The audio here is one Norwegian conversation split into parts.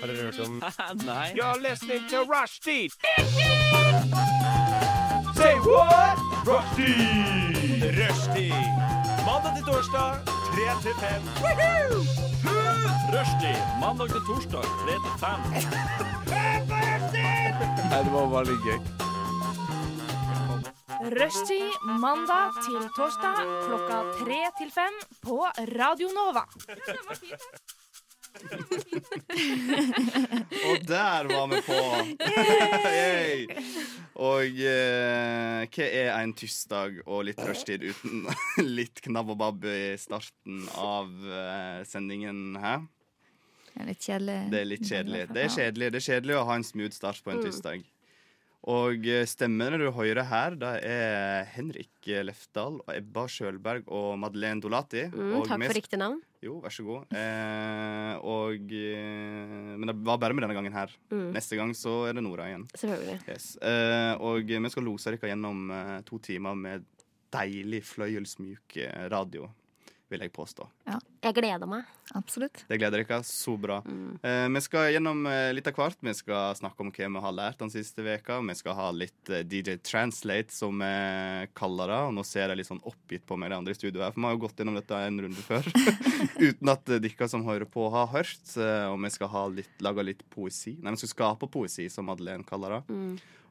Har dere hørt om Nei. You're listening to Rushdie. Say what? Rushdie. Rushdie. Mandag til torsdag, 3 til 5. Rushdie mandag til torsdag 3 til 5. Rushtid mandag til torsdag klokka tre til fem på Radio Nova. Og der var vi på! Yay. Og eh, hva er en tirsdag og litt rushtid uten litt knabb og babb i starten av eh, sendingen? Hæ? Det er litt kjedelig. Det er litt kjedelig. Det er kjedelig, det er kjedelig å ha en smooth start Mm. på en tirsdag. Og eh, stemmene du hører her, det er Henrik Lefdal og Ebba Sjølberg og Madeleine Dolati. Mm, og takk vi for riktig navn. Jo, vær så god. Eh, og eh, Men det var bare med denne gangen her. Mm. Neste gang så er det Nora igjen. Selvfølgelig. Yes. Eh, og vi skal lose dere gjennom eh, to timer med deilig fløyelsmjuk eh, radio, vil jeg påstå. Jeg gleder meg. Absolutt. Det gleder dere. Så bra. Eh, vi skal gjennom eh, litt av hvert. Vi skal snakke om hva vi har lært den siste veka. Vi skal ha litt eh, DJ Translate, som vi kaller det. Og nå ser jeg litt sånn oppgitt på meg, de andre i studio her, for vi har jo gått gjennom dette en runde før. Uten at eh, dere som hører på, har hørt. Eh, og vi skal ha litt, lage litt poesi. Nei, vi skal skape poesi, som Madeleine kaller det.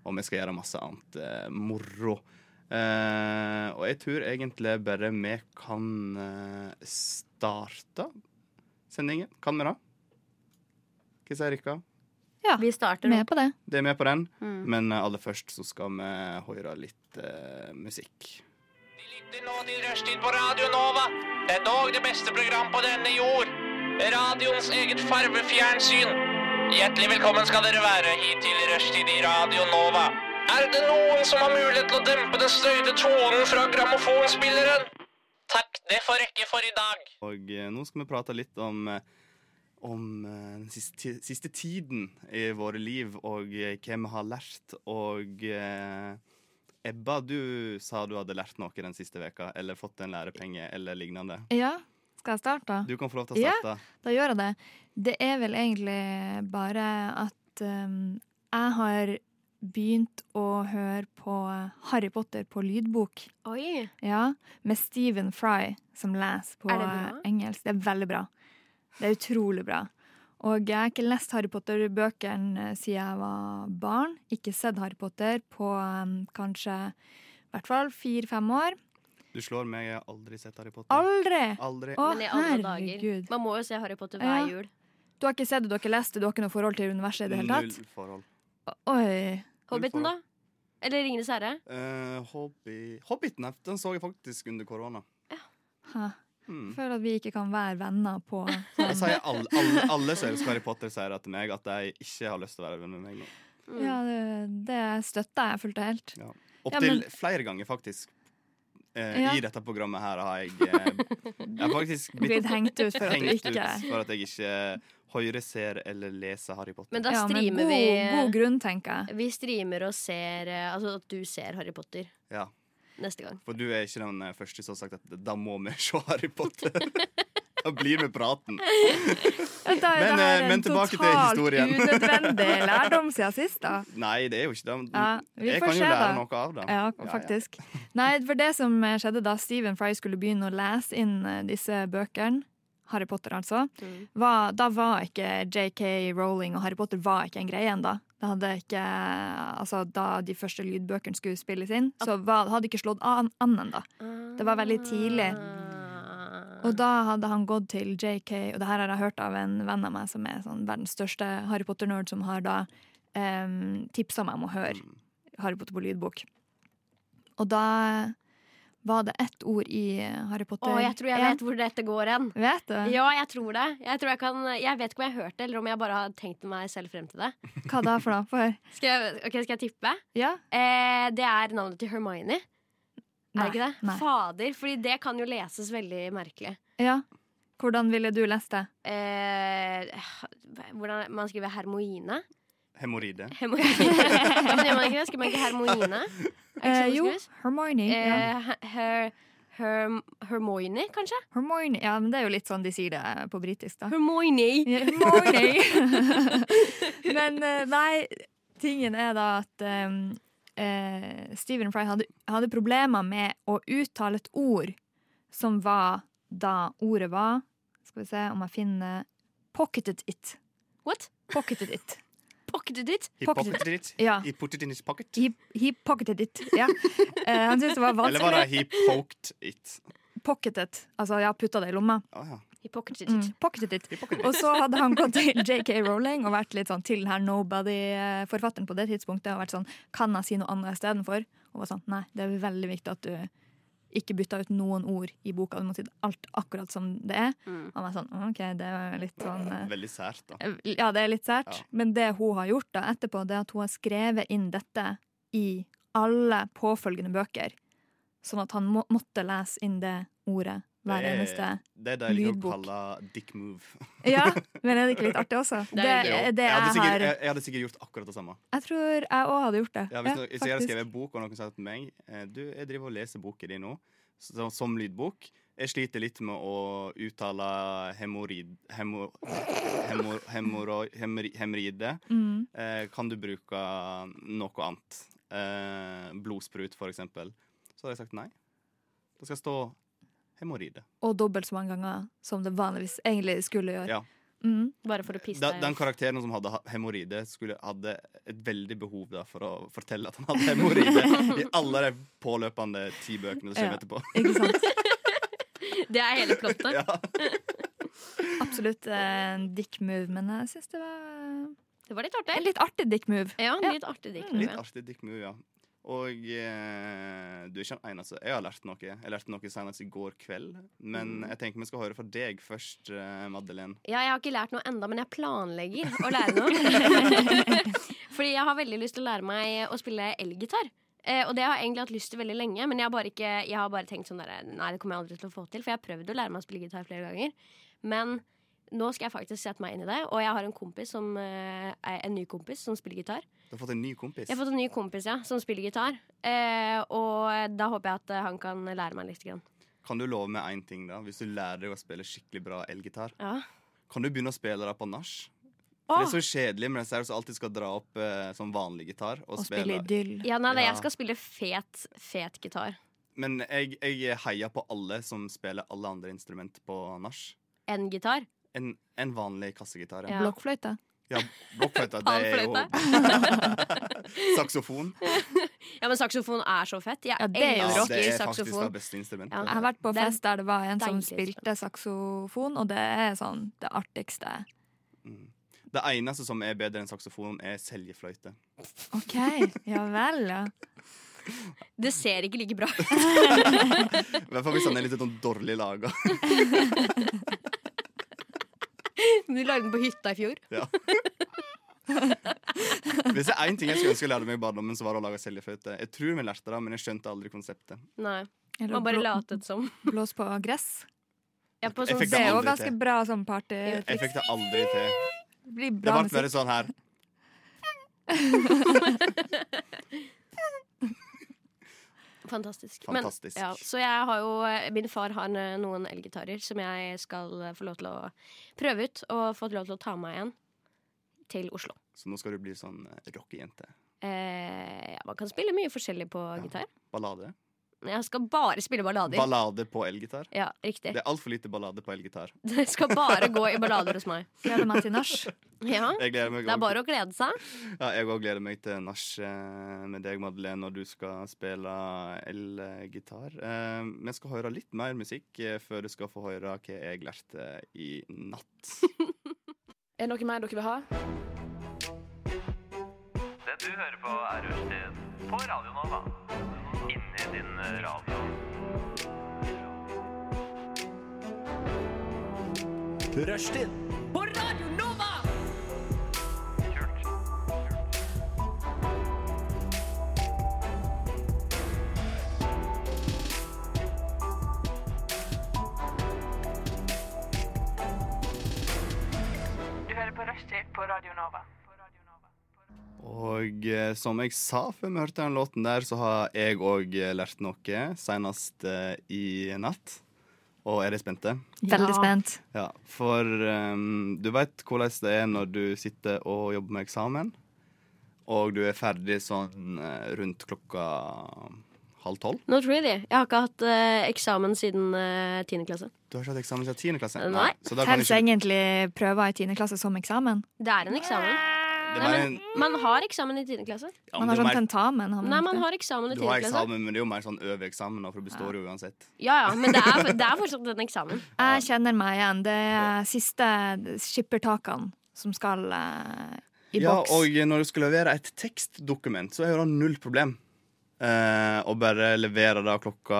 Og vi skal gjøre masse annet eh, moro. Eh, og jeg tror egentlig bare vi kan eh, starte sendingen. Kan vi det? Hva sier Rikka? Vi starter Med på det. Det er med på den, Mm. men eh, aller først så skal vi høre litt eh, musikk. lytter nå til Rushtid på Radio Nova. Det er dog det beste program på denne jord. Radioens eget farvefjernsyn. Hjertelig velkommen skal dere være hit til Rushtid i Radio Nova. Er det noen som har mulighet til å dempe den støyte tonen fra grammofonspilleren? Takk, det får rekke for i dag. Og eh, nå skal vi prate litt om, eh, om eh, den siste, siste tiden i våre liv, og eh, hva vi har lært. Og eh, Ebba, du sa du hadde lært noe den siste veka, eller fått en lærepenge, eller lignende. Ja, skal jeg starte? Du kan få lov til å Ja. starte. Da gjør jeg det. Det er vel egentlig bare at um, jeg har begynt å høre på Harry Potter på lydbok. Oi. Ja, med Stephen Fry som leser på Er det bra? engelsk. Det er veldig bra. Det er utrolig bra. Og jeg har ikke lest Harry Potter-bøkene eh, siden jeg var barn. Ikke sett Harry Potter på um, kanskje i hvert fall fire-fem år. Du slår meg, jeg har aldri sett Harry Potter. Aldri! Aldri. Å, Men i alle herregud. dager. Man må jo se Harry Potter Ja. hver jul. Du har ikke sett det, du har ikke lest det, du har ikke noe forhold til universet i det hele tatt? Null forhold. Oi. Hobbiten, da? Eller Ringenes herre? Eh, Hobby... Hobbiten ja, den så jeg faktisk under korona. Hæ. Hmm. Føler at vi ikke kan være venner på sånn. Jeg sier alle, alle, alle som elsker Harry Potter, sier det til meg at de ikke har lyst til å være venn med meg. nå. Mm. Ja, det, det støtter jeg fullt og helt. Opptil men- flere ganger, faktisk. Eh, Ja. I dette programmet her har jeg eh, Jeg har faktisk blitt Blitt hengt ut for at du hengt ut ikke for at jeg ikke høyre ser eller leser Harry Potter. Men da Ja, men streamer god, God vi grunn, tenker jeg. Vi streamer og ser eh, Altså at du ser Harry Potter Ja, neste gang. for du er ikke den eh, første som har sagt at da må vi se Harry Potter. da blir vi praten. Da er Men, det her eh, en men tilbake til totalt historien. unødvendig lærdom siden sist, da. Nei, det er jo ikke det. Ja, vi jeg får kan jo se, lære da. noe av det. Ja, faktisk. Nei, for det som skjedde da Stephen Fry skulle begynne å lese inn eh, disse bøkene, Harry Potter altså, Mm. var, da var ikke JK Rowling og Harry Potter var ikke en greie ennå. Det hadde ikke, altså, da de første lydbøkene skulle spilles inn, så var, hadde ikke slått an, an ennå. Ah. Det var veldig tidlig. Og da hadde han gått til JK, og det her har jeg hørt av en venn av meg som er sånn verdens største Harry Potter-nerd, som har da um, tipsa meg om å høre Mm. Harry Potter på lydbok. Og da var det ett ord i Harry Potter Å, jeg tror jeg Ja, vet hvor dette går hen. Vet du? Ja, jeg tror det. Jeg, tror jeg, kan, jeg vet ikke om jeg har hørt det, eller om jeg bare har tenkt meg selv frem til det. Hva da for noe? For? Skal jeg, ok, skal jeg tippe? Ja? Eh, det er navnet til Hermione. Er det ikke det? Nei. Fader, fordi det kan jo leses veldig merkelig. Ja. Hvordan ville du lest det? Eh, hvordan man skriver hermoine? Hemoroide. Hemo- ja, men gjør man ikke det? Skriver man ikke hermoine? Er det ikke sånn Eh, det jo, skrives? Hermione. ja. Eh, her, Herm Hermione, kanskje? Hermione. Ja, men det er jo litt sånn de sier det på britisk, da. Hermione! Ja, Hermione. men eh, nei, tingen er da at um, eh, Stephen Fry hadde, hadde problemer med å uttale et ord som var da ordet var Skal vi se om jeg finner Pocketed it. What? Pocketed it. Pocketed it? He Pocket- pocketed it. Ja. He put it in his pocket. He, he pocketed it. Ja. Eh, han syntes det var Eller var vanskelig. det he poked it? Pocketed. Altså, ja, putta det i lomma. Å ja. He pocketed Mm, it. pocketed it. He pocketed Og it. så hadde han gått til JK Rowling og vært litt sånn til den her nobody-forfatteren på det tidspunktet. Og vært sånn, kan jeg si noe annet istedenfor? Og var sånn, nei, det er veldig viktig at du ikke bytter ut noen ord i boka. Du må si alt akkurat som det er. Mm. Han var sånn, ok, det er litt sånn eh, Veldig sært, da. Ja, det er litt sært. Ja. Men det hun har gjort da etterpå, det er at hun har skrevet inn dette i alle påfølgende bøker. Sånn at han må, måtte lese inn det ordet hver Det er- eneste Det er det jeg liker å Lydbok. kalle dick move. Ja, men er det ikke litt artig også? Det, er eh, det, Jo. jeg, hadde jeg sikkert, har jeg, jeg hadde sikkert gjort akkurat det samme. Jeg tror jeg òg hadde gjort det. Ja, hvis, Ja, no- hvis jeg hadde faktisk. skrevet en bok, og noen sa til meg eh, Du, jeg driver og leser boka di nå, så, som lydbok. Jeg sliter litt med å uttale hemoroid... hemo- hemo- hemoroi- hemori- Hemoride. Mm. Eh, kan du bruke noe annet? Eh, blodsprut, for eksempel. Så hadde jeg sagt nei. Det skal stå hemoride. Og dobbelt så mange ganger som det vanligvis egentlig skulle gjøre. Ja. Mm. Bare for å pisse Da, den deg. karakteren som hadde ha- hemoroide, skulle- hadde et veldig behov da, for å fortelle at han hadde hemoroide i alle de påløpende ti bøkene som kommer Ja. etterpå. Ikke sant? Det er hele plottet. Ja. Absolutt eh, en dick move, men jeg syns det var Det var litt en artig. litt artig dick move. Ja, Ja. Mm. litt artig dikt. Litt Ja. artig dick move, ja. Og eh, du er ikke den eneste. Jeg har lært noe. Jeg lærte noe senest i går kveld. Men jeg tenker vi skal høre fra deg først, eh, Madeleine. Ja, jeg har ikke lært noe enda, men jeg planlegger å lære noe. Fordi jeg har veldig lyst til å lære meg å spille elgitar. Eh, og det har jeg egentlig hatt lyst til veldig lenge, men jeg har bare, ikke, jeg har bare tenkt sånn der, Nei, det kommer jeg aldri til å få til, for jeg har prøvd å lære meg å spille gitar flere ganger. Men nå skal jeg faktisk sette meg inn i det, og jeg har en kompis som eh, er en ny kompis som spiller gitar. Du har fått en ny kompis. Jeg har fått en ny kompis, ja, som spiller gitar. Eh, og da håper jeg at eh, han kan lære meg litt. Grann. Kan du love meg én ting, da? Hvis du lærer deg å spille skikkelig bra elgitar, Ja. kan du begynne å spille det på nach? For Åh! Det er så kjedelig med disse her som alltid skal dra opp eh, som vanlig gitar. Og Å spille. spille idyll. Ja, nei, nei, Ja. jeg skal spille fet, fet gitar. Men jeg, jeg heier på alle som spiller alle andre instrument på nach. En gitar. En, en vanlig kassegitar. Ja. Ja. Blokkfløyte. ja Blokkfløyta, det er jo Saksofon. Ja, men saksofon er så fett. Jeg Ja, det er jo elsker rock. det er faktisk det saksofon. beste instrumentet. Ja. Jeg har vært på Det er fest der det var en som deilig spilte saksofon, og det er sånn det artigste. Det eneste som er bedre enn saksofon, er seljefløyte. OK, ja vel, ja. Det ser ikke like bra ut. I hvert fall hvis han er litt sånn dårlig laga. Du lagde den på hytta i fjor. Ja. Hvis det er én ting jeg skulle ønske jeg lærte meg i barndommen, så var det å lage seljefløyte. Jeg tror vi lærte det, men jeg skjønte aldri konseptet. Nei, Eller Man bare blå- latet som. blås på gress. Ja, på Jeg sånn fikk Det er jo aldri ganske til. bra sånn party. Jeg fikk det aldri til. Det blir Det bra ble musikk. bare sånn her. fantastisk. Fantastisk. ja, så jeg har jo Min far har eh, noen elgitarer som jeg skal eh, få lov til å prøve ut, og fått lov til å ta med meg en til Oslo. Så nå skal du bli sånn eh, rockejente. Eh, ja, man kan spille mye forskjellig på gitar. Ballade. Jeg skal bare spille ballader. Ballade på elgitar. ja, riktig. Det er altfor lite ballade på elgitar. Det skal bare gå i ballader hos meg. Gleder meg til nach. Ja, Jeg gleder meg Det er bare å glede seg. ja, jeg også gleder meg til nach eh, med deg, Madeleine, når du skal spille elgitar. Eh, Vi skal høre litt mer musikk eh, før du skal få høre hva jeg lærte i natt. Er det noe mer dere vil ha? Det du hører på er Rushtid på Radio Nova. Inni din radio. Rushtid. Kult. Du hører på Rushtid på Radio Nova. Og eh, som jeg sa før vi hørte den låten der, så har jeg òg lært noe, senest eh, i natt. Og er dere spente? Veldig spent. Ja, for ehm, du veit hvordan det er når du sitter og jobber med eksamen, og du er ferdig sånn eh, rundt klokka halv tolv. Nå tror jeg det. Jeg har ikke hatt eh, eksamen siden eh, 10. klasse. Du har ikke hatt eksamen siden tiende klasse? Nei. Så da kan Telles ikke, egentlig prøver i tiende klasse som eksamen? Det er en eksamen. det Nei, var men en, Man har eksamen i 10. klasse. ja, Man men det har er sånn jo mer, tentamen. Har man Nei, ikke man det? har eksamen i du 10. har klasse. eksamen, men det er jo mer sånn øveeksamen, da, for du består jo uansett. Ja, ja, men det er, det er fortsatt en eksamen. Jeg kjenner meg igjen. Det er siste skippertakene som skal eh, i ja, boks. og når du skal levere et tekstdokument, så er jo det null problem. Eh, og bare levere det klokka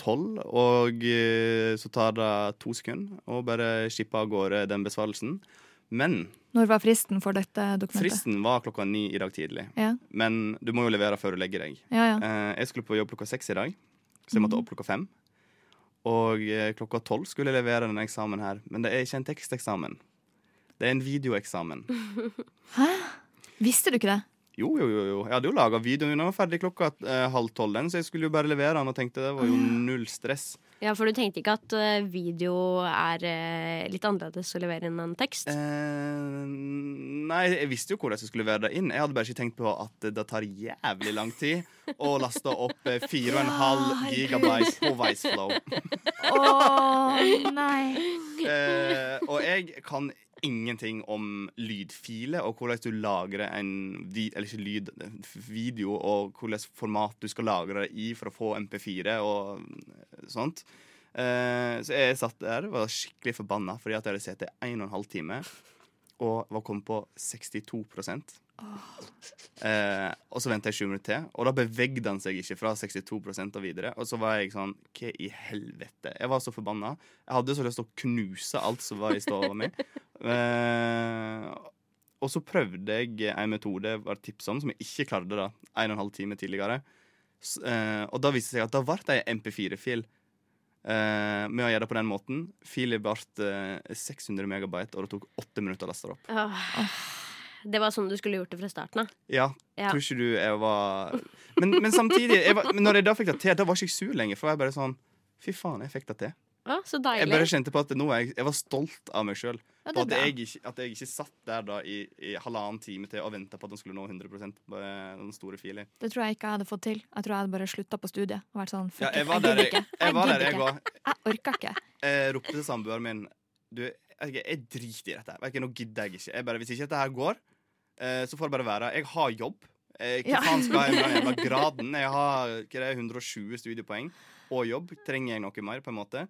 tolv, og eh, så tar det to sekunder å bare skippe av gårde den besvarelsen. Men Når var fristen for dette dokumentet? fristen var klokka ni i dag tidlig. Ja, Men du må jo levere før du legger deg. ja, ja. Mhm. Eh, jeg skulle på jobb klokka seks i dag, så jeg måtte opp klokka fem. Og eh, klokka tolv skulle jeg levere denne eksamen her, men det er ikke en teksteksamen. Det er en videoeksamen. Visste du ikke det? Jo, jo, jo. jo. Jeg hadde jo laga videoen min, den var ferdig klokka eh, halv tolv, den, så jeg skulle jo bare levere den, og tenkte det var jo null stress. Ja, For du tenkte ikke at eh, video er eh, litt annerledes å levere inn en tekst? Eh, nei, jeg visste jo hvordan jeg skulle levere det inn. Jeg hadde bare ikke tenkt på at det tar jævlig lang tid å laste opp eh, 4,5 gigabyte på Viceflow. Å nei. Eh, og jeg kan ingenting om lydfiler og hvordan du lagrer en vi, Eller ikke lyd, video, og hvordan format du skal lagre det i for å få MP4 og sånt. Eh, så jeg satt der og var skikkelig forbanna fordi at jeg hadde sittet i 1 12 time og var kommet på 62 eh, Og så venta jeg 7 minutter til, og da bevegde han seg ikke fra 62 og videre. Og så var jeg sånn Hva i helvete? Jeg var så forbanna. Jeg hadde så lyst til å knuse alt som var i stova mi. Eh, og så prøvde jeg en metode jeg var tips om, som jeg ikke klarte da, en og en halv time tidligere. S eh, og da viste det seg at da ble det ei MP4-fil. Eh, med å gjøre det på den måten. Filen ble eh, 600 megabyte, og det tok åtte minutter å laste det opp. Åh. Det var sånn du skulle gjort det fra starten av? Ja, Ja. Tror ikke du jeg var Men, men samtidig, jeg var, men når jeg da fikk det til, da var jeg ikke sur lenger. For jeg bare sånn Fy faen, jeg fikk det til. Ja, så Jeg deilig. bare kjente på at nå er jeg, jeg var stolt av meg sjøl. Ja, det Og er at bra. jeg, ikke, at jeg ikke satt der da i, i halvannen time til og venta på at han skulle nå 100 på eh, den store filen. Det tror jeg ikke jeg hadde fått til. Jeg tror jeg hadde bare slutta på studiet. Og vært sånn, fuck Ja, it, jeg var der, jeg, jeg, var der, jeg gidder ikke. var. Jeg orka ikke. Jeg ropte til samboeren min Du, jeg, vet ikke, jeg driter i dette. her. Vet ikke, nå gidder jeg ikke. Jeg bare, hvis ikke dette her går, eh, så får det bare være. Jeg har jobb. Eh, Hva Ja. faen skal jeg med den jævla graden? Jeg har hva er det, 120 studiepoeng og jobb. Trenger jeg noe mer, på en måte?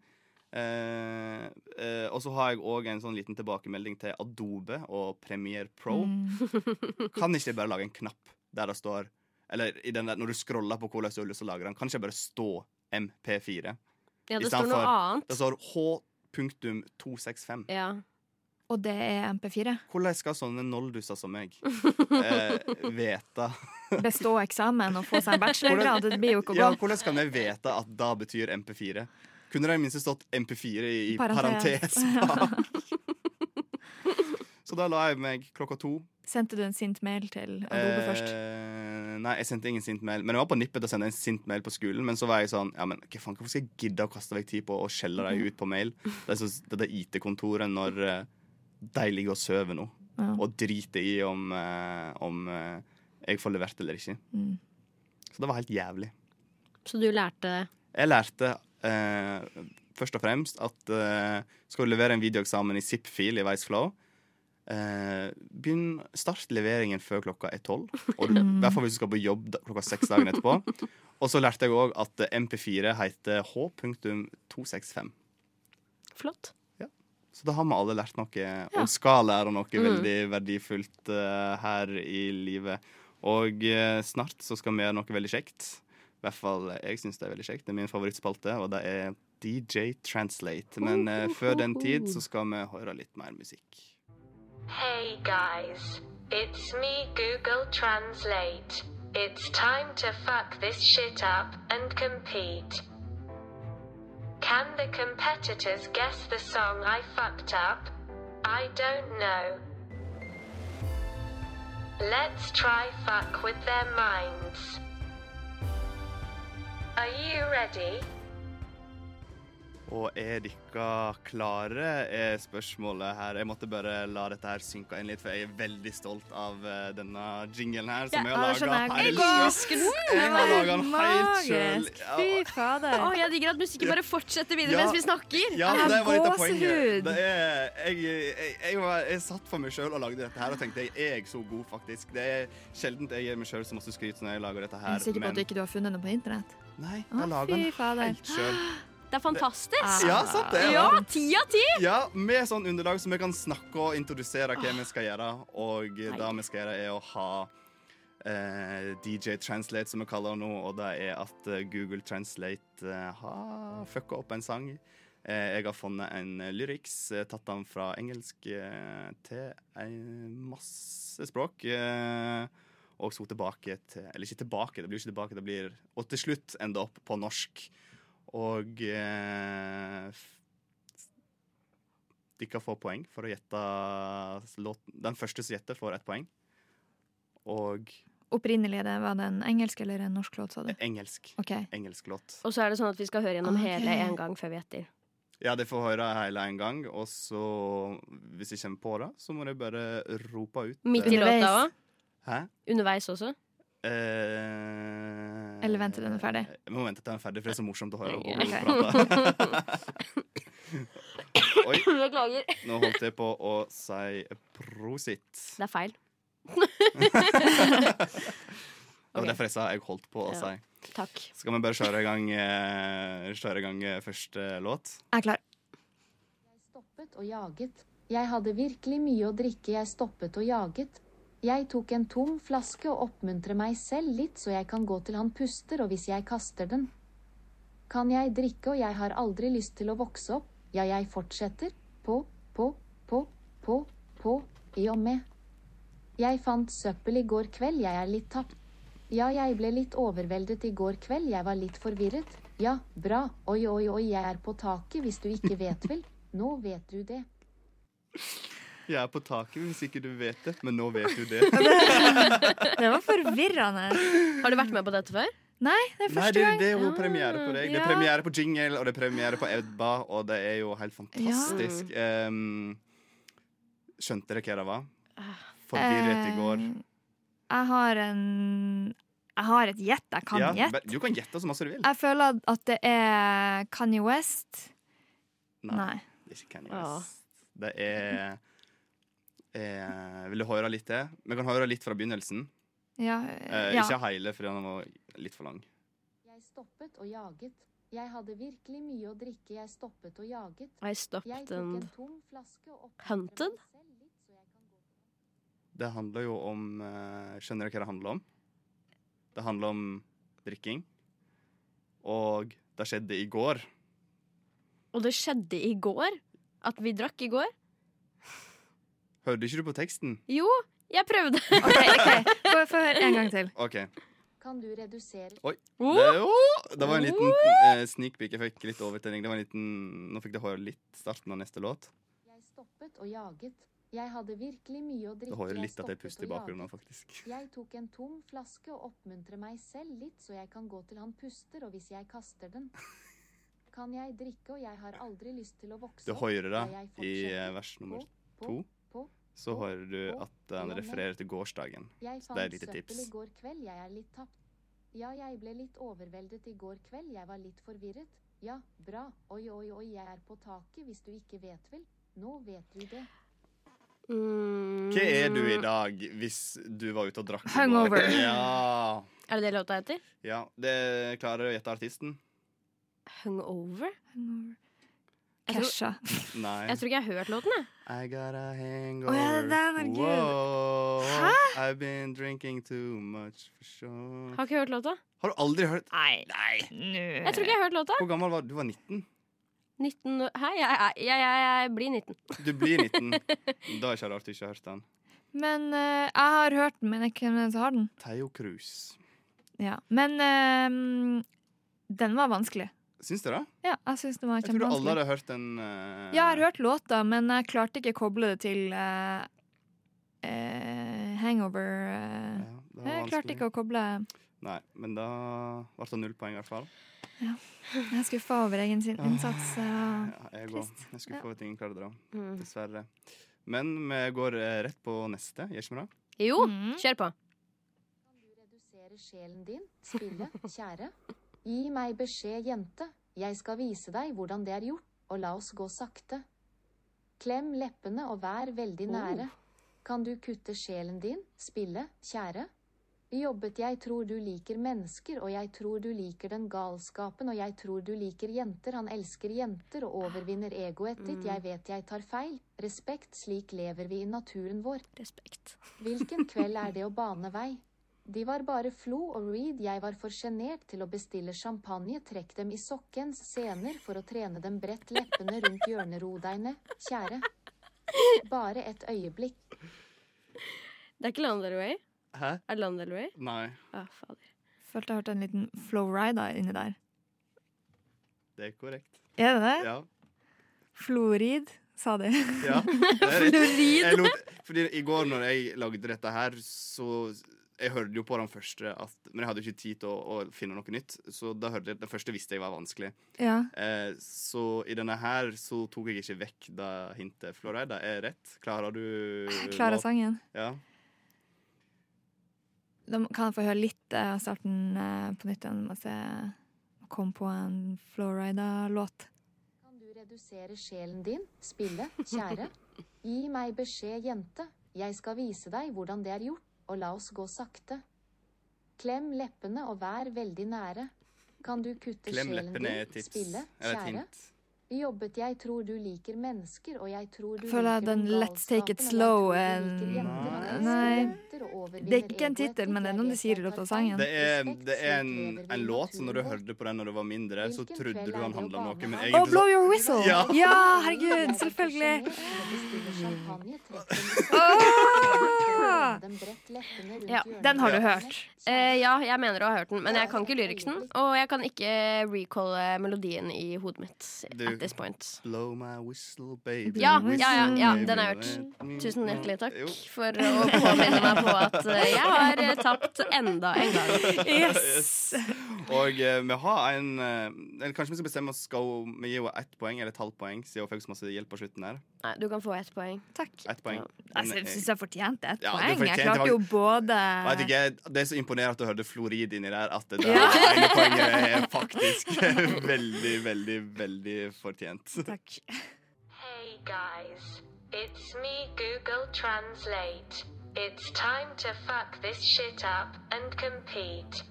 Eh, eh, og så har jeg òg en sånn liten tilbakemelding til Adobe og Premiere Pro. Mm. Kan ikke jeg bare lage en knapp der det står Eller i den der, når du scroller på hvordan du har lyst til å lagre den, kan ikke jeg bare stå MP4? Ja, i det stedet står noe for- annet. Det står H.265. Ja. Og det er MP4. Hvordan skal sånne nolldusser som meg eh, vite Bestå eksamen og få seg en bachelorgrad. Det blir jo ikke å Ja, gå. hvordan skal vi vite at da betyr MP4? Kunne det i det minste stått MP4 i, i Parentes. parentes bak? Så da la jeg meg klokka to. Sendte du en sint mail til Adobe først? Eh, nei, jeg sendte ingen sint mail. Men jeg var på nippet til å sende en sint mail på skolen. Men så var jeg sånn Ja, men hva faen, hvorfor skal jeg gidde å kaste vekk tid på å skjelle dem ut på mail? Det er så, dette IT-kontoret når eh, de ligger og sover nå, Ja. og driter i om, eh, om eh, jeg får levert eller ikke. Mm. Så det var helt jævlig. Så du lærte Jeg lærte eh, først og fremst at eh, skal du levere en videoeksamen i zip-fil i Viceflow, eh, begynn, start leveringen før klokka er tolv. Og du- I hvert fall hvis du skal på jobb da- klokka seks dagen etterpå. Og så lærte jeg òg at eh, MP4 heter H.265. Flott. Så da har vi alle lært noe, og skal lære noe veldig verdifullt eh, her i livet. Og eh, snart så skal vi gjøre noe veldig kjekt. I hvert fall eh, jeg syns det er veldig kjekt. Det er min favorittspalte, og det er DJ Translate. Men eh, før den tid så skal vi høre litt mer musikk. Hey guys, it's me Google Translate. It's time to fuck this shit up and compete. Can the competitors guess the song I fucked up? I don't know. Let's try fuck with their minds. Are you ready? Og er dere klare, er spørsmålet her. Jeg måtte bare la dette her synke inn litt, for jeg er veldig stolt av eh, denne jinglen her. Som jeg har laga Ah, Jeg helt elsker den! Jeg har var laget den helt selv. magisk. Fy fader. Å, jeg digger at musikken bare fortsetter videre Ja. mens vi snakker. Ja, Jeg det har var litt av gåsehud. poenget. Det er, jeg, jeg, jeg, var, jeg satt for meg sjøl og lagde dette her og tenkte jeg er jeg så god, faktisk. Det er sjelden jeg gir meg sjøl så masse skryt når jeg lager dette Jeg her. er sikker på at du ikke har funnet noe på internett. Nei, Å, jeg lager fy den fader. Ah. helt sjøl. Det er fantastisk. Ja, sant det. Ja, ti av ti! Ja, med sånn underlag som vi kan snakke og introdusere hva vi skal gjøre. Og det vi skal gjøre, er å ha eh, DJ Translate, som vi kaller det nå. Og det er at eh, Google Translate eh, har fucka opp en sang. Eh, jeg har funnet en lyriks, eh, tatt den fra engelsk eh, til en masse språk. Eh, og så tilbake til Eller ikke tilbake, det blir jo ikke tilbake, det blir Og til slutt enda opp på norsk. Og eh, dere får poeng for å gjette låten. Den første som gjetter, får ett poeng. Og Opprinnelig det var det en engelsk eller en norsk låt, sa du? engelsk. OK. Engelsk låt. Og så er det sånn at vi skal høre gjennom Ok. hele en gang før vi gjetter. Ja, de får høre hele en gang, og så, hvis jeg kommer på det, så må de bare rope ut. eh, Midt i Underveis. låta òg. Hæ? Underveis også. Eh, Eller vente til den er ferdig. Vi må vente til den er ferdig, for det er så morsomt å høre Ok. Obo prate. Oi, Beklager. nå holdt jeg på å si prosit. Det er feil. Det var Ok. derfor jeg sa jeg holdt på å Ja. si. Takk. Skal vi bare kjøre i gang, eh, kjøre i gang eh, første låt? Jeg er klar. stoppet og jaget. Jeg hadde virkelig mye å drikke, jeg stoppet og jaget. Jeg tok en tom flaske og oppmuntrer meg selv litt så jeg kan gå til han puster og hvis jeg kaster den. Kan jeg drikke og jeg har aldri lyst til å vokse opp, ja jeg fortsetter, på, på, på, på, på, i og med. Jeg fant søppel i går kveld, jeg er litt tapt. Ja, jeg ble litt overveldet i går kveld, jeg var litt forvirret. Ja, bra, oi, oi, oi, jeg er på taket hvis du ikke vet vel. Nå vet du det. Jeg er på taket hvis ikke du vet det, men nå vet du det. Det var forvirrende. Har du vært med på dette før? Nei, det er Nei, første det, gang. det er jo premiere på deg. Det Ja. er premiere på jingle, og det er premiere på Ebba, og det er jo helt fantastisk. Em, skjønte dere hva det var? Forvirret i går. Ah, Eh, Jeg har en Jeg har et gjett. Jeg kan Ja, gjette. Ah. men du kan gjette så masse du vil. Jeg føler at det er Kanye West. Nei. Det er ikke Kanye Ja. West. Det er eh, Vil du høre litt til? Vi kan høre litt fra begynnelsen. Ja, Eh, ja. Ikke hele, for den var litt for lang. Jeg stoppet og jaget. Jeg hadde virkelig mye å drikke, jeg stoppet og jaget. I stopped Jeg tok en and tom flaske og oppmuntret Hunted? meg selv litt så jeg kan gå til han. Det handler jo om eh, Skjønner dere hva det handler om? Det handler om drikking. Og det skjedde i går. Og det skjedde i går. At vi drakk i går. Hørte ikke du på teksten? Jo, jeg prøvde. OK, ok. Få- få høre en gang til. OK. Kan du redusere Det, Åh! det var en liten eh, sneak peek. Jeg fikk litt overtenning. Det var en liten, nå fikk jeg høre litt starten av neste låt. Jeg stoppet og jaget. Jeg hadde virkelig mye å drikke. Det hører litt jeg at jeg stoppet puster i og bakgrunnen, jaget. faktisk. Jeg tok en tom flaske og oppmuntrer meg selv litt så jeg kan gå til han puster og hvis jeg kaster den. Kan jeg drikke og jeg har aldri lyst til å vokse Du opp, hører det og jeg i eh, fortsetter. vers nummer På, to. på, Så hører du at han refererer til gårsdagen. Jeg Så fant det er et lite søppel tips. i går kveld, jeg er litt tapt. Ja, jeg ble litt overveldet i går kveld, jeg var litt forvirret. Ja, bra, oi, oi, oi, jeg er på taket hvis du ikke vet vel. Nå vet du det. Mm. Hva er du i dag hvis du var ute og drakk? i går? Hungover. Ja. Er det det låta heter? ja. Det klarer du å gjette artisten? Hungover? Jeg tror, Kesha. Nei. jeg tror ikke jeg har hørt låten, jeg. I got a hangover. Å, ja, det der, herregud. Whoa. I've been drinking too much for sure. Har ikke hørt låta. Har du aldri hørt Nei. Jeg tror ikke jeg har hørt låta. Hvor gammel var du? Du var 19? 19 og- Hei, jeg, jeg, jeg, jeg, jeg blir 19. Du blir 19. Da er det ikke rart du ikke har hørt den. Men eh, jeg har hørt den, men jeg vet ikke hvem som har den. Theo Cruz. Ja. Men eh, den var vanskelig. Syns du det? Ja, jeg syns den var Jeg trodde alle kjempevanskelig. hadde hørt den. eh, Ja, jeg har hørt låta, men jeg klarte ikke å koble det til uh, eh, hangover eh, det var Jeg klarte vanskelig. ikke å koble Nei, men da ble det null poeng i hvert fall. ja. Jeg er skuffa over egen sin Ah. innsats. eh, Ja, jeg går. trist. Jeg skulle Ja. få at ingen klarte det, da. Mm. Dessverre. Men vi går eh, rett på neste, gjør ikke vi det? Jo, kjør på. Redusere sjelen din, spille, kjære. Gi meg beskjed, jente. Jeg skal vise deg hvordan det er gjort, og la oss gå sakte. Klem leppene og vær veldig nære. Kan du kutte sjelen din, spille, kjære? Jobbet jeg tror du liker mennesker, og jeg tror du liker den galskapen, og jeg tror du liker jenter, han elsker jenter og overvinner egoet ditt, Mm. jeg vet jeg tar feil, respekt, slik lever vi i naturen vår. Respekt. Hvilken kveld er det å bane vei? De var bare Flo og Reed, jeg var for sjenert til å bestille champagne, trekk dem i sokkens sener for å trene dem bredt, leppene rundt hjørnerodeiene, kjære. Bare et øyeblikk. Det er ikke Lana Del Rey? Hæ? Er det Lana Del Rey? Nei, Ah, fader. Følte jeg hørte en liten flowrida inni der. det er korrekt. Er det det? Ja. Florid, sa de. ja det er rett. Jeg lot, fordi I går når jeg lagde dette her, så Jeg hørte jo på den første, at, men jeg hadde jo ikke tid til å, å finne noe nytt. Så da hørte jeg, den første visste jeg var vanskelig. Ja. Eh, så i denne her så tok jeg ikke vekk det hintet. Florida er rett. Klarer du Klarer låt- sangen. Ja. Da må- kan jeg få høre litt eh, av starten eh, på nytt igjen. Mens jeg kom på en Flowrida-låt. Kan du redusere sjelen din, spille, kjære? Gi meg beskjed, jente. Jeg skal vise deg hvordan det er gjort, og la oss gå sakte. Klem leppene og vær veldig nære. Kan du kutte Klem sjelen leppene er et din, tips. spille, Eller et kjære? hint. Jobbet jeg tror du liker mennesker, og jeg tror du Føler jeg liker den den Let's Take It galskapen, Slow og jeg tror du liker en jenter, Nei. jenter og overvinner Det er ikke en egoet ditt, tittel, men det er jeg noe de vet sier i jeg løpet av tar feil. sangen. Det er, Respekt, det er en, slik lever vi en i låt som når du naturen vår. hørte på den når du var mindre, så Hvilken trodde kveld du er han det å handla om noe, bane men Å, vei? egentlig så Blow Your Whistle! Ja. ja herregud, selvfølgelig! Åh! Ja, Ah! Den har du hørt. Eh, ja, jeg mener å ha hørt den, men jeg kan ikke lyriksen. Og jeg kan ikke recalle melodien i hodet mitt Du- at this point. Blow my whistle, baby. Ja, whistle, ja, ja, ja, den har jeg baby, hørt. let me- Tusen hjertelig takk Jo. for å påminne meg på at eh, jeg har eh, tapt enda en gang. Yes! Og eh, vi har en eh, Eller kanskje vi skal bestemme oss Skal hun- vi gi henne ett poeng eller et halvt poeng, siden hun fikk så masse hjelp på slutten her. Nei, du kan få ett poeng. Takk. Ett poeng. Men, Altså, jeg eh, syns jeg fortjente ett Ja, du poeng. Jeg fortjente klarte jo faktisk- både Vet ikke, Det er så imponerende at du hørte florid inni der, at det der Ja. ene poenget er faktisk veldig, veldig, veldig fortjent. Takk. Hey guys, it's me Google Translate. It's time to fuck this shit up and compete.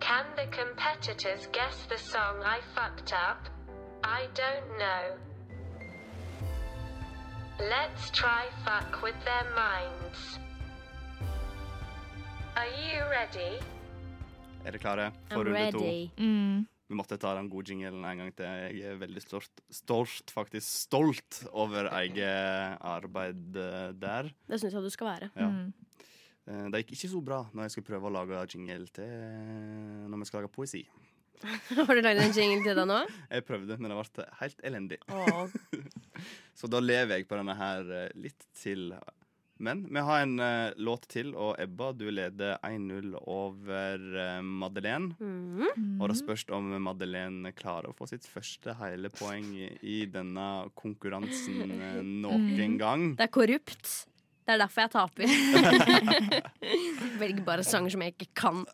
Can the competitors guess the song I fucked up? I don't know. Let's try fuck with their minds. Are you ready? Er dere klare for I'm runde to? ready. Mm. Vi måtte ta den gode jingelen en gang til. Jeg er veldig stolt, stolt faktisk stolt over eget arbeid eh, der. Det syns jeg du skal være. Ja. Mm. Eh, Det gikk ikke så bra når jeg skulle prøve å lage jingle til eh, når vi skal lage poesi. Har du lagd en jingle til deg nå? Jeg prøvde, men det ble helt elendig. Åh, Så da lever jeg på denne her eh, litt til. Men vi har en eh, låt til, og Ebba, du leder 1-0 over eh, Madeleine. Mm. Og det spørs det om Madeleine klarer å få sitt første hele poeng i- i denne konkurransen eh, noen gang. Det er korrupt. Det er derfor jeg taper. Velger bare sanger som jeg ikke kan.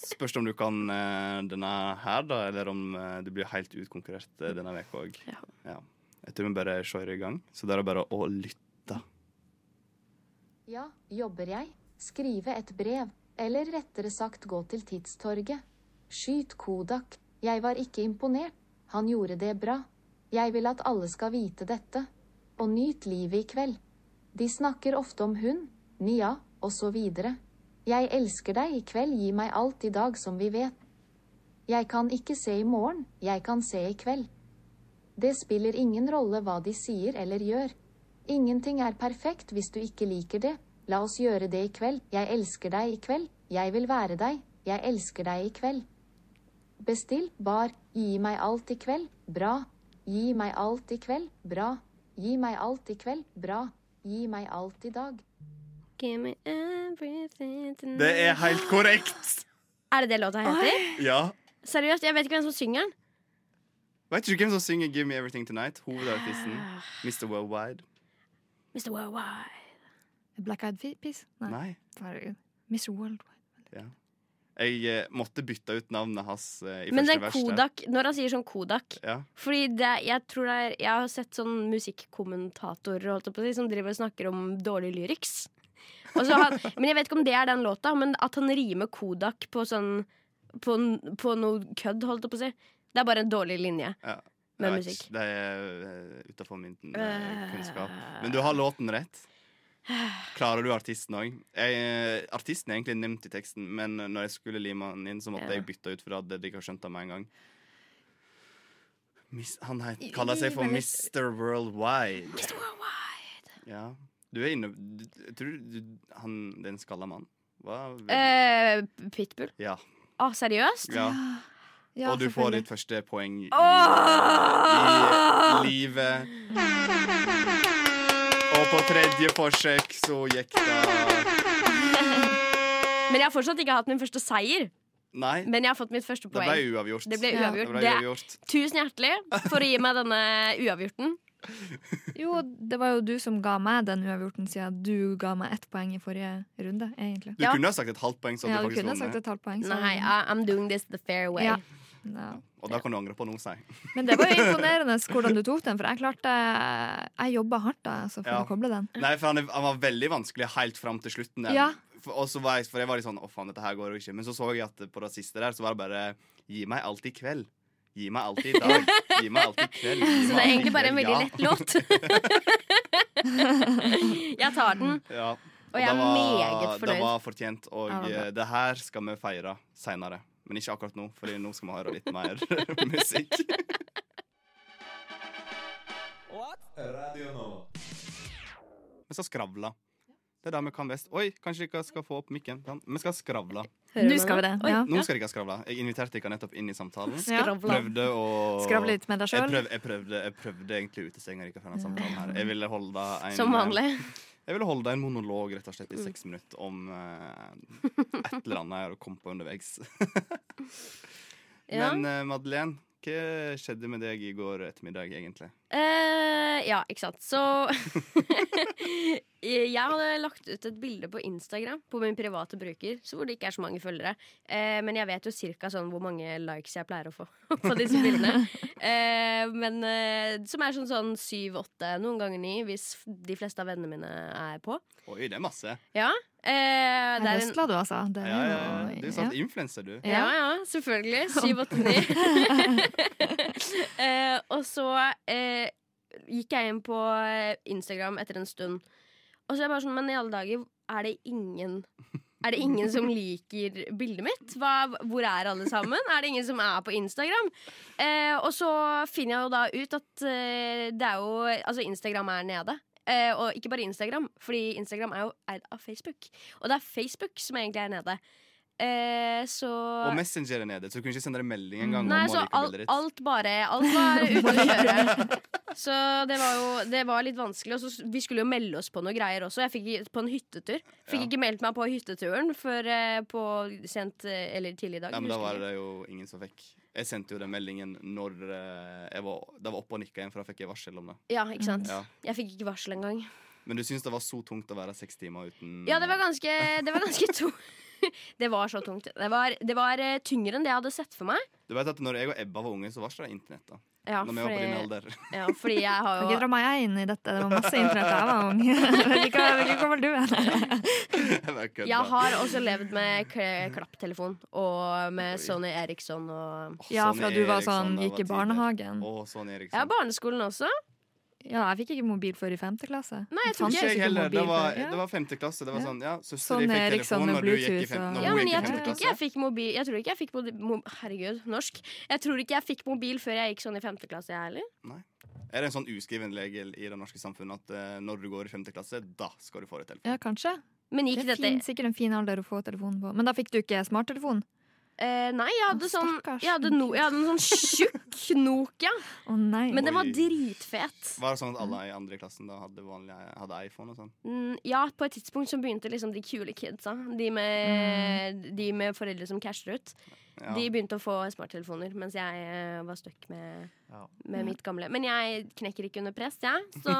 Spørs om du kan eh, denne her, da, eller om eh, du blir helt utkonkurrert eh, denne veka òg. Ja. Jeg tror vi bare kjører i gang. Så det er bare å lytte. Ja, jobber jeg? Skrive et brev? Eller rettere sagt gå til Tidstorget? Skyt Kodak. Jeg var ikke imponert. Han gjorde det bra. Jeg vil at alle skal vite dette. Og nyt livet i kveld. De snakker ofte om hun, Nia, og så videre. Jeg elsker deg i kveld, gi meg alt i dag som vi vet. Jeg kan ikke se i morgen, jeg kan se i kveld. Det spiller ingen rolle hva de sier eller gjør. Ingenting er perfekt hvis du ikke liker det. La oss gjøre det i kveld. Jeg elsker deg i kveld. Jeg vil være deg. Jeg elsker deg i kveld. Bestill bar. Gi meg alt i kveld. Bra. Gi meg alt i kveld. Bra. Gi meg alt i kveld. Bra. Gi meg alt i dag. Give me everything tonight. Det er helt korrekt! Er det det låta heter? Ja. Seriøst, jeg vet ikke hvem som synger den. Vet ikke hvem som synger 'Give Me Everything Tonight'? Hovedartisten. Mr. Worldwide. Mr. Worldwide. Black Eyed Fe- Peas? Nei. Herregud. Mr. Worldwide. Ja. Jeg eh, måtte bytte ut navnet hans eh, i Men første den vers. der. Kodak, når han sier sånn Kodak Ja. Fordi det, jeg tror det er Jeg har sett sånn musikkommentatorer holdt jeg på, å si, som driver og snakker om dårlig lyrics. Og så han, men jeg vet ikke om det er den låta, men at han rimer Kodak på sånn På, n- på noe kødd, holdt jeg på å si. Det er bare en dårlig linje. Ja. Med Jeg vet musikk. ikke. Det er utafor min eh, kunnskap. Men du har låten rett. Klarer du artisten òg? Artisten er egentlig nevnt i teksten, men når jeg skulle lime den inn, så Ja. måtte jeg bytte ut, for da hadde de ikke skjønt det med en gang. Miss, han het, kaller seg for Mr. Worldwide. Mr. Worldwide. Ja. Du er inne du, jeg Tror du han Det er en skalla mann? Hva? Eh, Pitbull? Ja. Å, seriøst? ja. Ja, Og du får ditt første poeng i, Åh! i livet. Og på tredje forsøk så gikk det Men jeg har fortsatt ikke hatt min første seier. Nei, Men jeg har fått mitt første det poeng. ble uavgjort. Det ble Ja. uavgjort. Det ble Det er- uavgjort. Tusen hjertelig for å gi meg denne uavgjorten. Jo, det var jo du som ga meg den uavgjorten, siden du ga meg ett poeng i forrige runde, egentlig. Du Ja. kunne ha sagt et halvt poeng, så Ja, hadde du du faktisk kunne sagt vunnet. et halvt poeng. så- Nei, I- I'm doing this the fair way. Sånn. Ja. Ja. Og da kan du angre på noe, si. Men det var jo imponerende hvordan du tok den, for jeg klarte Jeg jobba hardt da, altså, for Ja. å koble den. Nei, for han, er- han var veldig vanskelig helt fram til slutten. der. Ja. For, og så var jeg, for jeg var litt sånn 'Å, faen, dette her går jo ikke'. Men så så jeg at på det siste der så var det bare 'Gi meg alt i kveld'. Gi meg alt i dag. Gi meg alt i kveld. Gi Så det meg er alt i egentlig bare en veldig kveld, ja. lett låt. jeg tar den. Ja. Og jeg det er meget fornøyd. Det var fortjent, og Ja, det var eh, det her skal vi feire seinere. Men ikke akkurat nå, for nå skal vi høre litt mer musikk. Vi skal skravle. Det er det vi kan best. Oi, kanskje dere skal få opp mikken. Sånn. Vi skal skravle. Nå skal vi det. Oi. Ja. Nå skal dere skravle. Jeg inviterte dere nettopp inn i samtalen. Skravla. Prøvde å Skravle litt med deg Jeg sjøl. prøvde, jeg prøvde, jeg prøvde egentlig å utestenge dere fra denne samtalen her. Jeg ville holde en Som vanlig. jeg ville holde en monolog rett og slett i Mm. seks minutter om eh, et eller annet jeg kom på underveis. Ja. Men eh, Madeleine, hva skjedde med deg i går ettermiddag, egentlig? Eh, ja, ikke sant. Så Jeg hadde lagt ut et bilde på Instagram på min private bruker, så hvor det ikke er så mange følgere. Eh, men jeg vet jo cirka sånn hvor mange likes jeg pleier å få på disse bildene. Eh, men eh, Som er sånn sånn syv-åtte, noen ganger ni, hvis f- de fleste av vennene mine er på. Oi, det er masse. Ja. Eh, det er en Høsla du, altså. Det Ja, er ja, jo ja. Du er sånn influenser, du. Ja, ja, selvfølgelig. 789. eh, og så eh, gikk jeg inn på eh, Instagram etter en stund. Og så er jeg bare sånn, men i alle dager, er det ingen er det ingen som liker bildet mitt? Hva, hvor er alle sammen? Er det ingen som er på Instagram? Eh, og så finner jeg jo da ut at eh, det er jo Altså, Instagram er nede. Eh, og ikke bare Instagram, fordi Instagram er jo eid av Facebook. Og det er Facebook som egentlig er nede. Eh, så Og Messenger er nede, så du kunne ikke sende deg melding engang. Nei, om så å like alt, bildet ditt. alt bare Alt var ute å kjøre. Så det var jo det var litt vanskelig. Og så s- vi skulle jo melde oss på noe greier også. Jeg fikk ikke- på en hyttetur. Fikk Ja. ikke meldt meg på hytteturen før eh, på sent eh, eller tidlig i dag. Ja, men da husker var ikke. det jo ingen som fikk. Jeg sendte jo den meldingen når eh, jeg var, det var oppe og nikka igjen, for da fikk jeg varsel om det. ja, ikke sant. Ja. Jeg fikk ikke varsel engang. Men du syns det var så tungt å være seks timer uten Ja, det var ganske, det var ganske tungt. Det var så tungt. Det var, det var eh, tyngre enn det jeg hadde sett for meg. Du vet at når jeg og Ebba var unge, så varsla internett, da. Ja, når vi var på din fordi, alder. ja, fordi jeg har Kan jo ikke dra meg inn i dette. Det var masse internett da jeg var ung. Jeg vet ikke hva- Hvilken gammel du er. Sånn Jeg bare kødda. Jeg har også levd med k- klapptelefon og med Sony Eriksson og Åh, Ja, Sonny fra du var Eriksson, sånn, det var gikk i tidlig. barnehagen. Å, Sonny Eriksson. Ja, barneskolen også. Ja, jeg fikk ikke mobil før i femte klasse. Nei, jeg Det tror fantes ikke jeg ikke heller. mobil Det var, før, ja. det var femte klasse. Det var Ja. sånn, ja, Søster Sånn din fikk Eriksson telefon med når du gikk i Bluetooth fem, og- når Ja, hun men gikk i jeg femte tror ikke klasse. jeg fikk mobil Jeg tror ikke jeg fikk mobil mo- Herregud, norsk. Jeg tror ikke jeg fikk mobil før jeg gikk sånn i femte klasse, jeg heller. Er det en sånn uskriven regel i det norske samfunnet at eh, når du går i femte klasse, da skal du få deg telefon? Ja, kanskje. Men Det gikk er dette fin, sikkert en fin alder å få telefonen på. Men da fikk du ikke smarttelefon? Eh, nei, jeg hadde, sånn, jeg, hadde no, jeg hadde en sånn tjukk Nokia. Men den var Oi. dritfet. Var det sånn at alle i andre klassen da hadde, vanlig, hadde iPhone og sånn? Mm, Ja, på et tidspunkt så begynte liksom de kule kidsa, de med, de med foreldre som casher ut, Mm. Ja. de begynte å få smarttelefoner, mens jeg eh, var stuck med, Ja. med mitt gamle. Men jeg knekker ikke under press, jeg, så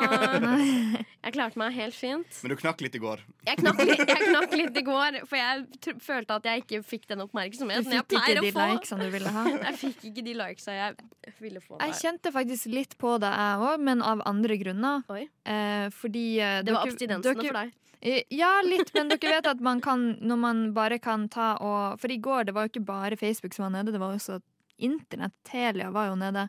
jeg klarte meg helt fint. Men du knakk litt i går. Jeg knakk, litt, jeg knakk litt i går, for jeg tr følte at jeg ikke fikk den oppmerksomheten Du jeg fikk ikke pleier å de få. likesene du ville ha. Jeg fikk ikke de likesa jeg ville få. Jeg der. kjente faktisk litt på det, jeg òg, men av andre grunner. Eh, fordi eh, Det var dere- abstinensene dere- for deg. Eh, Ja, litt, men dere vet at man kan Når man bare kan ta og For i går det var jo ikke bare Facebook som var nede, det var også internett. Telia var jo nede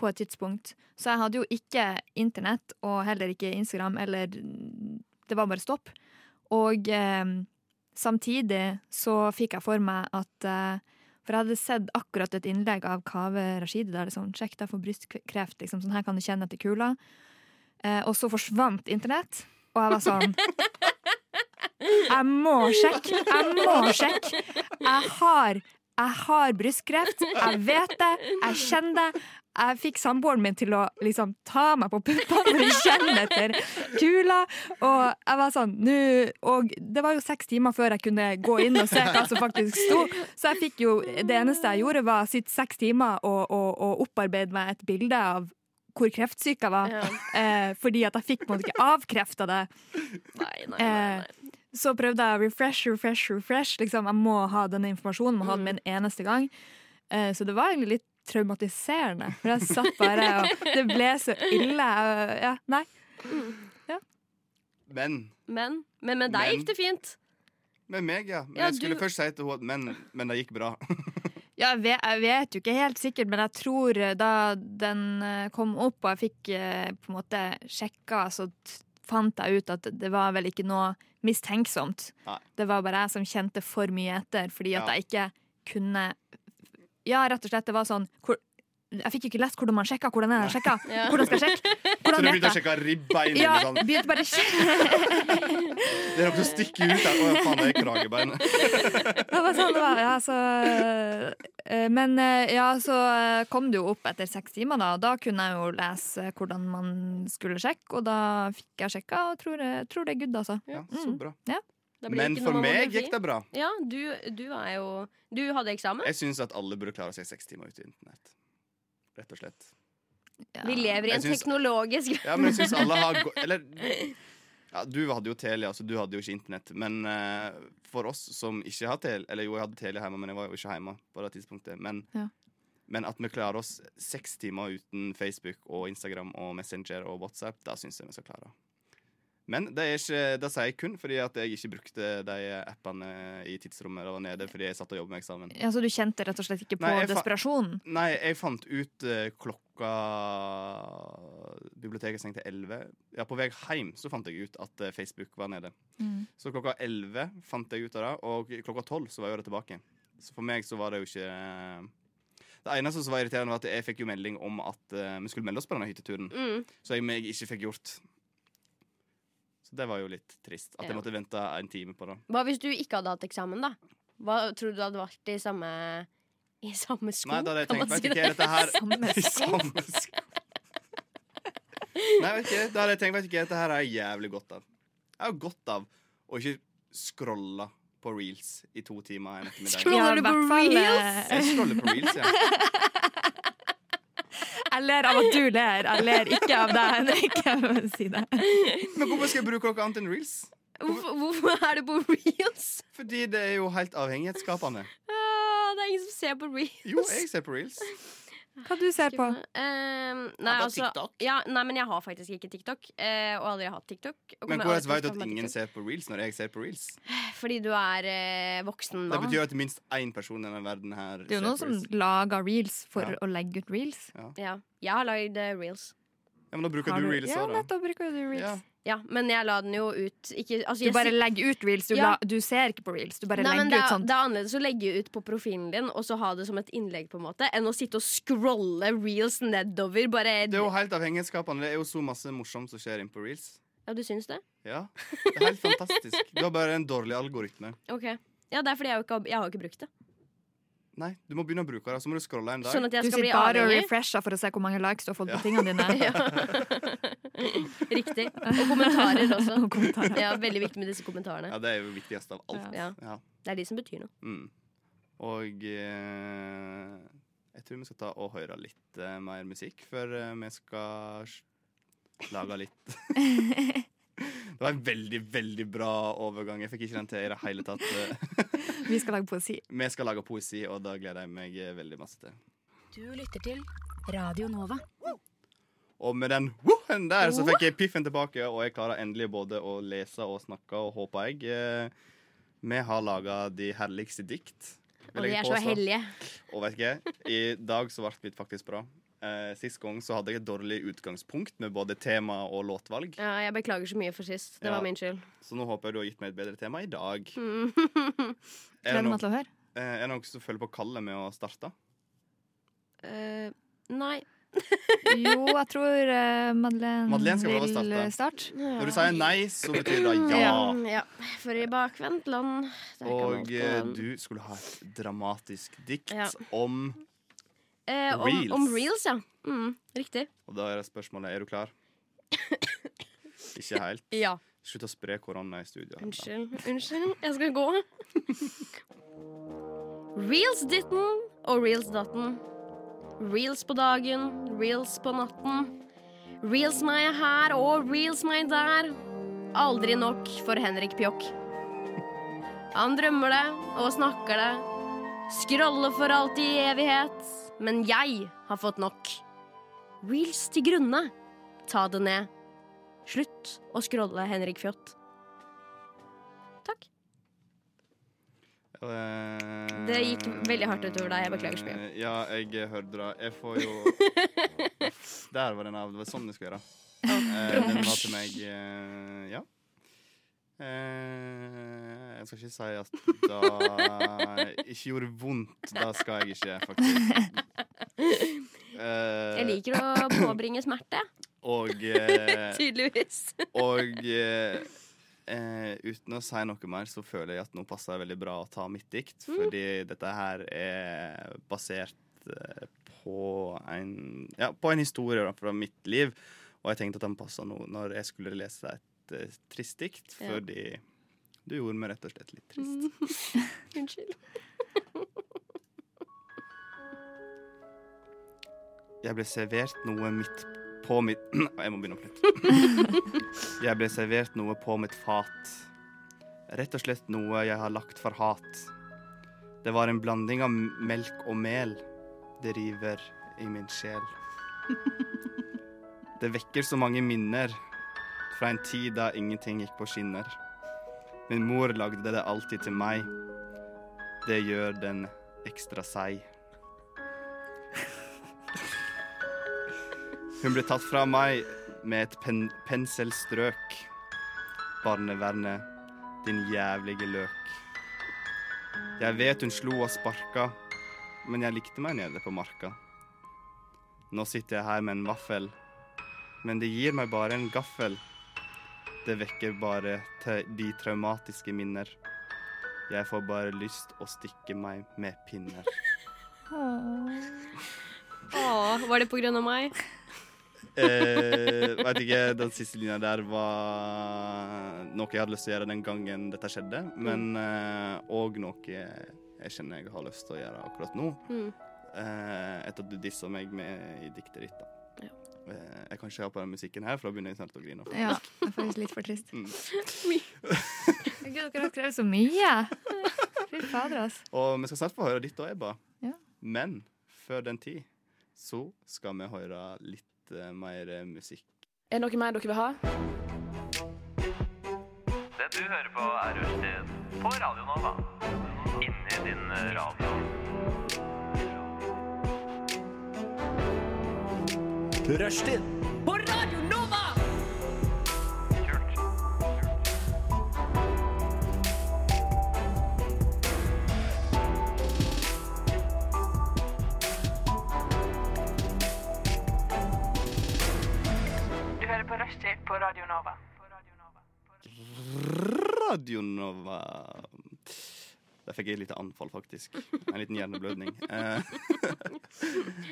på et tidspunkt. Så jeg hadde jo ikke internett, og heller ikke Instagram, eller Det var bare stopp. Og eh, samtidig så fikk jeg for meg at eh, For jeg hadde sett akkurat et innlegg av Kaveh Rashidi der det sånn Sjekk deg for brystkreft, liksom. Sånn her kan du kjenne etter kula. Eh, og så forsvant internett, og jeg var sånn Jeg må sjekke! Jeg må sjekke! Jeg har jeg har brystkreft, jeg vet det, jeg kjenner det. Jeg fikk samboeren min til å liksom ta meg på puppene for å kjenne etter kula. Og jeg var sånn «Nå-» Og det var jo seks timer før jeg kunne gå inn og se hva som faktisk sto. Så jeg fikk jo Det eneste jeg gjorde, var å sitte seks timer og, og, og opparbeide meg et bilde av hvor kreftsyk jeg var. Eh, fordi at jeg fikk på en måte ikke avkrefta det. Eh, så prøvde jeg å refresh, refresh, refresh. Liksom, jeg må ha denne informasjonen. Må ha den med en eneste gang. Eh, så det var egentlig litt traumatiserende. For jeg satt bare og Det ble så ille. Jeg- Ja, nei. Men Men, men med deg Men. gikk det fint. Med meg, ja. Men Ja, jeg skulle du- først si til henne at men, men det gikk bra. Ja, jeg, vet, jeg vet jo ikke helt sikkert, men jeg tror eh, da den eh, kom opp og jeg fikk eh, på en måte sjekka, så t- fant jeg ut at det var vel ikke noe mistenksomt. Det var bare jeg som kjente for mye etter, fordi at Ja. jeg ikke kunne Ja, rett og slett, det var sånn hvor, Jeg fikk jo ikke lest hvordan man sjekka, hvordan er det jeg sjekka, Ja. hvordan skal jeg sjekke? Så Hvordan du begynte å vet jeg? sjekke ribbein? Ja, eller sånn. begynte bare å sjekke. Det er noe som stikker ut der. Å ja, faen, det er kragebein. Det var sånn det var. Ja, så, eh, men eh, ja, så eh, kom det jo opp etter seks timer, da. og Da kunne jeg jo lese hvordan man skulle sjekke, og da fikk jeg sjekka, og tror, eh, tror det er good, altså. Ja, så bra. Ja. Mm. Da blir det Men ikke for noe meg mammografi. gikk det bra. Ja, du, du er jo Du hadde eksamen? Jeg syns at alle burde klare seg seks timer ute i internett. Rett og slett. Vi lever i en Jeg syns- teknologisk Ja, men jeg syns alle har gå- Eller ja, du hadde jo Telia, så du hadde jo ikke internett. Men eh, for oss som ikke har Telia Eller jo, jeg hadde Telia hjemme, men jeg var jo ikke hjemme på det tidspunktet. Men, Ja. men at vi klarer oss seks timer uten Facebook og Instagram og Messenger og WhatsApp, da syns jeg vi skal klare. Men det, er ikke, det sier jeg kun fordi at jeg ikke brukte de appene i tidsrommet der nede fordi jeg satt og jobbet med eksamen. Ja, så du kjente rett og slett ikke på Nei, jeg fa- desperasjonen? Nei, jeg fant ut eh, klokka Biblioteket stengte 11. Ja, på vei hjem så fant jeg ut at eh, Facebook var nede. Mm. Så klokka 11 fant jeg ut av det, og klokka 12 så var jeg tilbake. Så for meg så var det jo ikke eh, Det eneste som var irriterende, var at jeg fikk jo melding om at eh, vi skulle melde oss på denne hytteturen. Mm. Så jeg meg ikke fikk gjort. Så det var jo litt trist. At Ja. jeg måtte vente en time på det. Hva hvis du ikke hadde hatt eksamen, da? Hva tror du du hadde vært i samme I samme sko? Nei, da hadde jeg kan man tenkt si vet ikke, er dette her I samme sko. Nei, vet ikke, da hadde jeg tenkt vet ikke, dette her er jeg jævlig godt av. Jeg har godt av å ikke scrolle på reels i to timer en ettermiddag. Scroller du Ja, i på hvert fall, reels? eh, Jeg scroller på reels, ja. Jeg ler av at du ler. Jeg ler ikke av deg, Henrik. Jeg må si det. Men hvorfor skal jeg bruke noe annet enn reels? Hvorfor, hvorfor er det på reels? Fordi det er jo helt avhengighetsskapende. Ah, det er ingen som ser på reels. Jo, jeg ser på reels. Hva du ser på? nei, altså, ja, nei, men jeg har faktisk ikke TikTok. eh, og aldri hatt TikTok. og Men kommer aldri til hvordan å vet du skaffe at meg ingen TikTok. ser på reels når jeg ser på reels? Fordi du er eh, voksen Det mann. betyr at minst én person i denne verden her Det er ser jo noen på som reels. lager reels for Ja. å legge ut reels. ja. Jeg har lagd eh, reels. Ja, men da bruker Har du du- reels Ja, òg, da. nettopp bruker du reels. Ja, men jeg la den jo ut ikke, altså, Du jeg bare sit- legger ut reels. Du, Ja. la, du ser ikke på reels. Du bare Nei, men det legger ut er, sånn sånt. det er annerledes å legge ut på profilen din og så ha det som et innlegg, på en måte enn å sitte og scrolle reels nedover. Bare Det er jo helt avhengighetsskapende. Det er jo så masse morsomt som skjer inn på reels. Ja, du syns det? Ja, det er helt fantastisk. Du har bare en dårlig algoritme. Ok. Ja, det er fordi jeg, jo ikke, har- jeg har jo ikke brukt det. Nei, du må begynne å bruke det. Så må du scrolle en dag. Sånn at jeg Du skal bli sitter bare og avhengig. refresher for å se hvor mange likes du har fått på tingene dine. Riktig. Og kommentarer også. Og kommentarer. altså. Ja, veldig viktig med disse kommentarene. Ja, det er jo viktigst av alt. Ja. Ja. Det er de som betyr noe. Mm. Og eh, jeg tror vi skal ta og høre litt eh, mer musikk før eh, vi skal s- lage litt Det var en veldig, veldig bra overgang. Jeg fikk ikke den til i det hele tatt. Vi skal lage poesi. vi skal lage poesi, og da gleder jeg meg eh, veldig masse til. Du lytter til Radio Nova. Og med den woohen der så fikk jeg piffen tilbake, og jeg klarer endelig både å lese og snakke, og håper jeg. Eh, Vi har laga de herligste dikt. vil Og de jeg er så påstå. hellige. Og vet ikke, i dag så ble det faktisk bra. Eh, sist gang så hadde jeg et dårlig utgangspunkt med både tema og låtvalg. Ja, jeg beklager så mye for sist. Det Ja. var min skyld. Så nå håper jeg du har gitt meg et bedre tema i dag. Mm. Er det Gleder noen- meg til å høre. eh, Er det noen som føler på kallet med å starte? Eh, nei. Jo, jeg tror eh, Madeleine, Madeleine skal få lov å vil starte. eh, starte. Når du sier nei, så betyr det ja. Mm, ja. For i bakvendt land Der kan Og alt eh, gå an. du skulle ha et dramatisk dikt Ja. om Eh, om, Reels. om reels, ja. Mm, riktig. Og da er det spørsmålet er du klar. Ikke helt. Ja. Slutt å spre korona i studio. Unnskyld. Unnskyld. Jeg skal gå. Reels ditten og reels datten. Reels på dagen, reels på natten. Reels meg her og reels meg der. Aldri nok for Henrik Pjokk. Han drømmer det og snakker det. Scroller for alltid i evighet. Men jeg har fått nok. Reels til grunne. Ta det ned. Slutt å scrolle Henrik Fjott. Eh, Det gikk veldig hardt utover deg. Jeg beklager så mye. eh, Ja, jeg hørte det. Jeg får jo Der var den av. Det var sånn jeg skulle gjøre. Eh, den var til meg eh, Ja. Eh, jeg skal ikke si at det ikke gjorde vondt. Det skal jeg ikke, faktisk. Eh, Jeg liker å påbringe smerte. Og eh, Tydeligvis. Og eh, eh, uten å si noe mer, så føler jeg at nå passer det veldig bra å ta mitt dikt. Fordi dette her er basert eh, på en, ja, på en historie da, fra mitt liv. Og jeg tenkte at den passa nå når jeg skulle lese et eh, trist dikt, Ja. fordi du gjorde meg rett og slett litt trist. Unnskyld. Jeg ble servert noe midt på mitt Jeg må begynne opp litt. Jeg ble servert noe på mitt fat. Rett og slett noe jeg har lagt for hat. Det var en blanding av melk og mel. Det river i min sjel. Det vekker så mange minner fra en tid da ingenting gikk på skinner. Min mor lagde det alltid til meg. Det gjør den ekstra seig. Hun ble tatt fra meg med et pen penselstrøk. Barnevernet, din jævlige løk. Jeg vet hun slo og sparka, men jeg likte meg nede på marka. Nå sitter jeg her med en vaffel, men det gir meg bare en gaffel. Det vekker bare te- de traumatiske minner. Jeg får bare lyst å stikke meg med pinner. Åh, var det på grunn av meg? Eh, vet ikke, den siste linja der var noe jeg hadde lyst til å gjøre den gangen dette skjedde, men òg noe jeg kjenner jeg har lyst til å gjøre akkurat nå. Mm. Eh, etter at du dissa meg med i diktet ditt. da. Eh, jeg kan ikke ha på den musikken her, for da begynner jeg snart å grine. Ja, det er faktisk litt for trist. Mm. Gud, dere har skrevet så mye! Fy fader, altså. Og vi skal snart få høre ditt òg, Ebba. Ja. Men før den tid så skal vi høre litt eh, mer eh, musikk. Er det noe mer dere vil ha? Det du hører på er Rushtid på Radio Nova. Inni din eh, radio. Rushtid. På Radio Nova! Du hører på Rushtid på Radio Nova. Radio Nova. Der fikk jeg et lite anfall, faktisk. En liten hjerneblødning. Eh,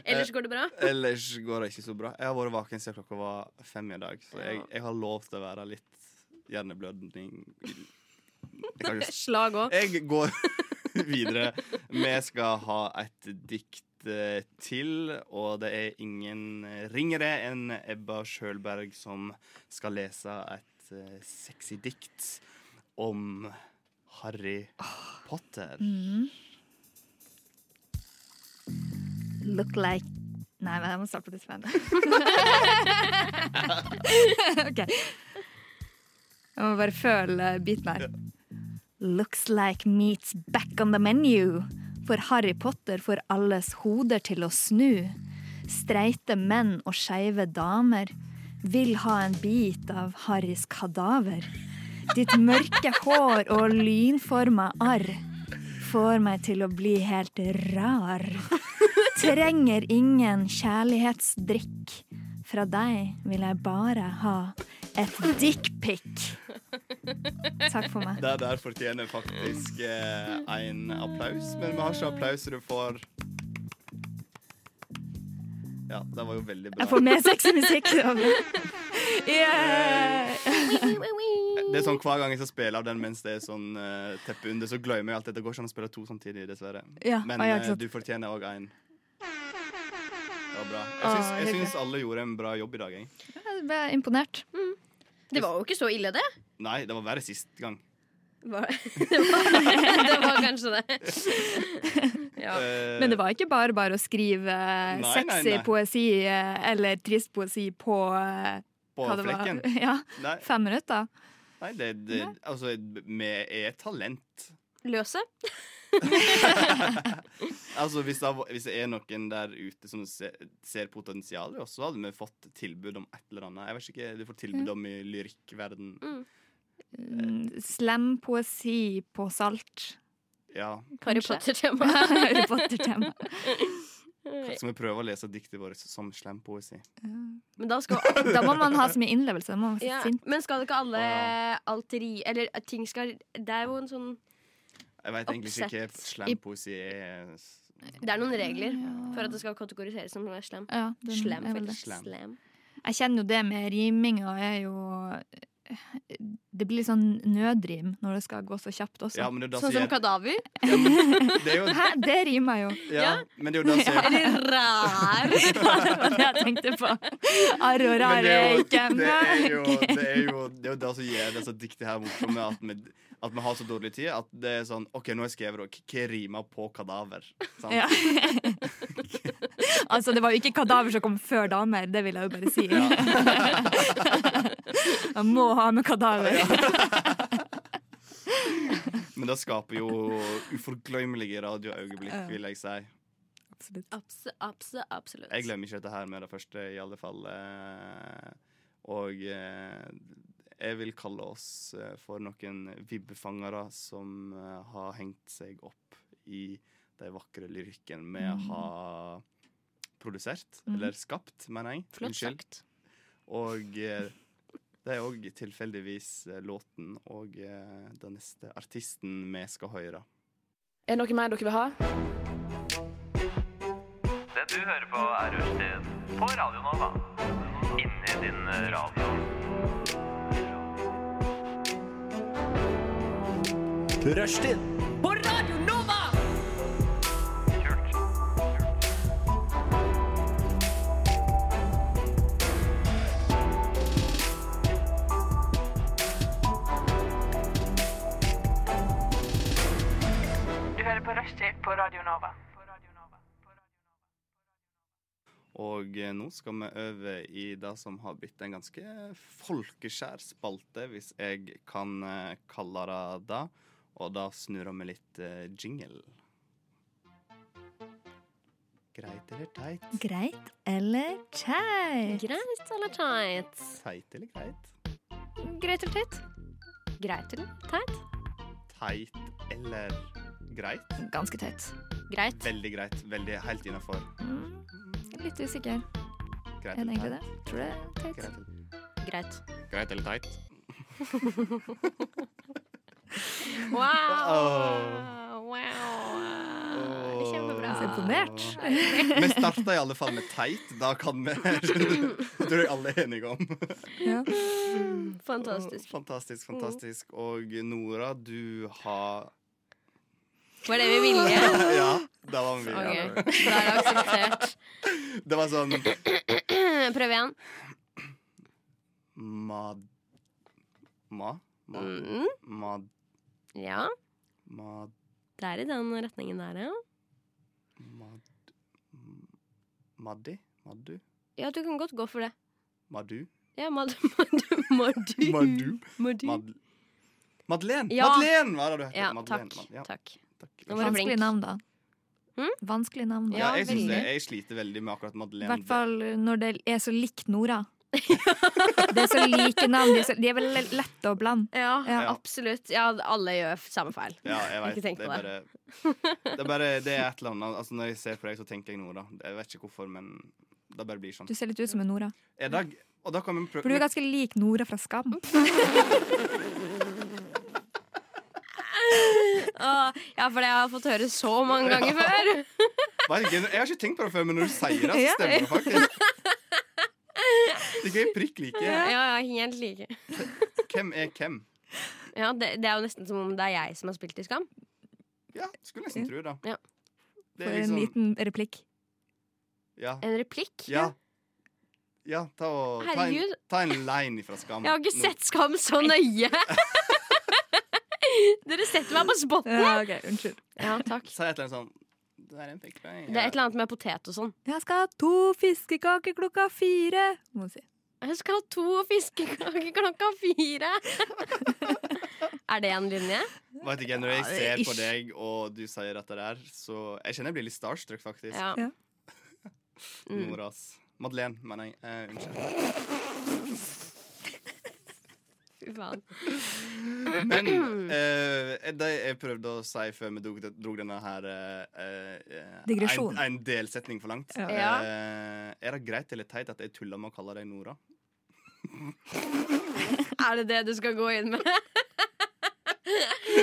Ellers går det bra? eh, Ellers går det ikke så bra. Jeg har vært våken siden klokka var fem i dag, så jeg, jeg har lov til å være litt hjerneblødning Jeg kan ikke Slag òg. jeg går videre. Vi skal ha et dikt eh, til, og det er ingen ringere enn Ebba Sjølberg som skal lese et eh, sexy dikt om Harry Potter. Mm. Look like Nei, men jeg må starte på det som OK. Jeg må bare føle biten her. Looks like meat's back on the menu. For Harry Potter får alles hoder til å snu. Streite menn og skeive damer vil ha en bit av Harrys kadaver. Ditt mørke hår og lynforma arr får meg til å bli helt rar. Trenger ingen kjærlighetsdrikk. Fra deg vil jeg bare ha et dickpic. Takk for meg. Det der fortjener faktisk eh, en applaus, men vi har ikke applaus, så du får Ja, det var jo veldig bra. Jeg får mer sexy musikk. det var bra. Det er sånn Hver gang jeg skal spille av den mens det er sånn eh, teppe under, så glemmer jeg alt dette. Det går ikke an å spille to samtidig, dessverre. Ja, Men ah, ja, eh, ikke sant. du fortjener òg en. Det var bra. Jeg Ah, syns, jeg hyggelig. syns alle gjorde en bra jobb i dag, jeg. Jeg ble imponert. Eh. Det var jo ikke så ille, det. Nei, det var verre sist gang. Var- Det var, det var kanskje det. Ja. Eh, Men det var ikke bare bare å skrive eh, nei, sexy nei. poesi eh, eller trist poesi på, eh, På hva det var. flekken. Ja, Nei. Fem minutter. Nei, det, det Altså, vi er talent. Løse. Altså, hvis det, var- hvis det er noen der ute som ser, ser potensial i oss, så hadde vi fått tilbud om et eller annet. Jeg vet ikke, Du får tilbud om i lyrikkverden. Mm, Slem poesi på salt. Ja. Harry Kanskje. Potter-tema. Harry Potter-tema. Så vi prøver å lese diktet vårt som slem poesi. Men da skal Da må man ha så mye innlevelse. Da må man være ja, sint. Men skal ikke alle alteri... Eller at ting skal Det er jo en sånn Jeg veit egentlig ikke Oppsett. hva slem poesi er. Det er noen regler for at det skal kategoriseres som slem. Ja, den slem, er vel det. faktisk. Slem. Slem. Jeg kjenner jo det med riminga er jo eh, Det blir litt sånn nødrim når det skal gå så kjapt også. Ja, men det er da Sånn som som gjør- kadaver. Det er jo Hæ, det rimer jo. ja, Men det er jo det som er Eller rar. det var det jeg tenkte på. Arr og Men rar det er er jo- ikke det er jo det er jo det er jo det som gjør disse diktene her morsomme, at vi, at vi har så dårlig tid at det er sånn OK, nå har jeg skrevet det, og hva rimer på kadaver? Sant? Ja. altså, det var jo ikke kadaver som kom før damer, det vil jeg jo bare si. Man må ha med kadaver. Men det skaper jo uforglemmelige radioøyeblikk, vil jeg si. Abse, abse, absolutt. Jeg glemmer ikke dette her med det første, i alle fall. Eh, Og eh, jeg vil kalle oss eh, for noen vibbefangere som eh, har hengt seg opp i de vakre lyrikken vi Mm. Mhm. har produsert, Mhm. eller skapt, mener jeg. Flott Unnskyld. sagt. Og eh, det er òg tilfeldigvis eh, låten og eh, den neste artisten vi skal høre. Er det noe mer dere vil ha? Det du hører på er Rushtid på Radio Nova. Inni din radio. Rushtid På Radio Nova! Du hører på Rushtid på Radio Nova. Og eh, nå skal vi over i det som har blitt en ganske folkeskjær spalte, hvis jeg kan eh, kalle det det. Og da snurrer vi litt eh, jingle. Greit eller teit? Greit eller teit? Greit eller teit? Teit eller greit? Greit eller teit? Greit eller teit? Teit eller greit? Ganske teit. Greit. Veldig greit. Veldig helt innafor. Mm, Litt usikker. Greit Er det eller egentlig det? teit? Tror det er teit. Greit eller- Greit. Greit eller teit? Wow! Åh. wow. Så imponert. Vi starta i alle fall med teit. Da kan vi Det tror jeg alle er enige om. Fantastisk. Mm. Fantastisk, fantastisk. Og Nora, du har Var det vi ville? Ja, det var vi. Ok, Da er det akseptert. Det var sånn Prøv igjen. Ma Ma? Ma? Mm. ma, Ja, ma det er i den retningen der, ja. Mad... m- Maddi? Maddu? Ja, du kan godt gå for det. Madu? Ja, Mad... Madu... Madu... Madu? Madu. Mad Madeleine! Ja. Madeleine! Hva er det du heter? Ja, Madeleine. takk, Mad- ja. takk. Nå var du Vanskelig flink. navn, da. Vanskelig navn, Ja, da. jeg, synes det, jeg sliter veldig med akkurat Hm? I Madeleine. hvert fall når det er så likt Nora. Det er så like navn. De er, så, de er veldig lette å blande. Ja, Ja. absolutt. Ja, alle gjør samme feil. Ja, jeg Ikke vet, tenk det er på bare, det er bare Det er et eller annet altså, Når jeg ser på deg, så tenker jeg Nora. Jeg vet ikke hvorfor, men det bare blir sånn. Du ser litt ut som en Nora. Er det, og da kan vi prøve For du er ganske lik Nora fra Skam. Åh, ja, for det har jeg fått høre så mange ganger før. Hva er det- Jeg har ikke tenkt på det før, men når du sier det, så stemmer det faktisk. Det er gøy prikk like. Ja, ja, helt like. Hvem er hvem? Ja, det, det er jo nesten som om det er jeg som har spilt i Skam. Ja, skulle nesten tro det. Ja. Det For er en liksom liten replikk. ja. En replikk? Ja. Ja, ta, og, ta, en, Herregud. ta en line ifra Skam. Jeg har ikke Nå- sett Skam så nøye. Dere setter meg på spotten. Ja, unnskyld. Ja, takk. Si et eller annet sånn Det er en pikk fra Det er et eller annet med potet og sånn. Jeg skal ha to fiskekaker klokka fire, må du si. Jeg skal ha to fiskekaker klokka fire. er det en linje? Vet ikke, Når Ja, det er jeg ser på ish. deg, og du sier dette der, så Jeg kjenner jeg blir litt starstruck, faktisk. Ja. Ja. Mm. Noras. Madeleine, mener jeg. Eh, unnskyld. Fy faen. Men eh, det jeg prøvde å si før vi dro, dro denne her eh, eh, Digresjon. En, en delsetning for langt. Ja. Ja. Eh, er det greit eller teit at jeg tuller med å kalle deg Nora? Er det det du skal gå inn med?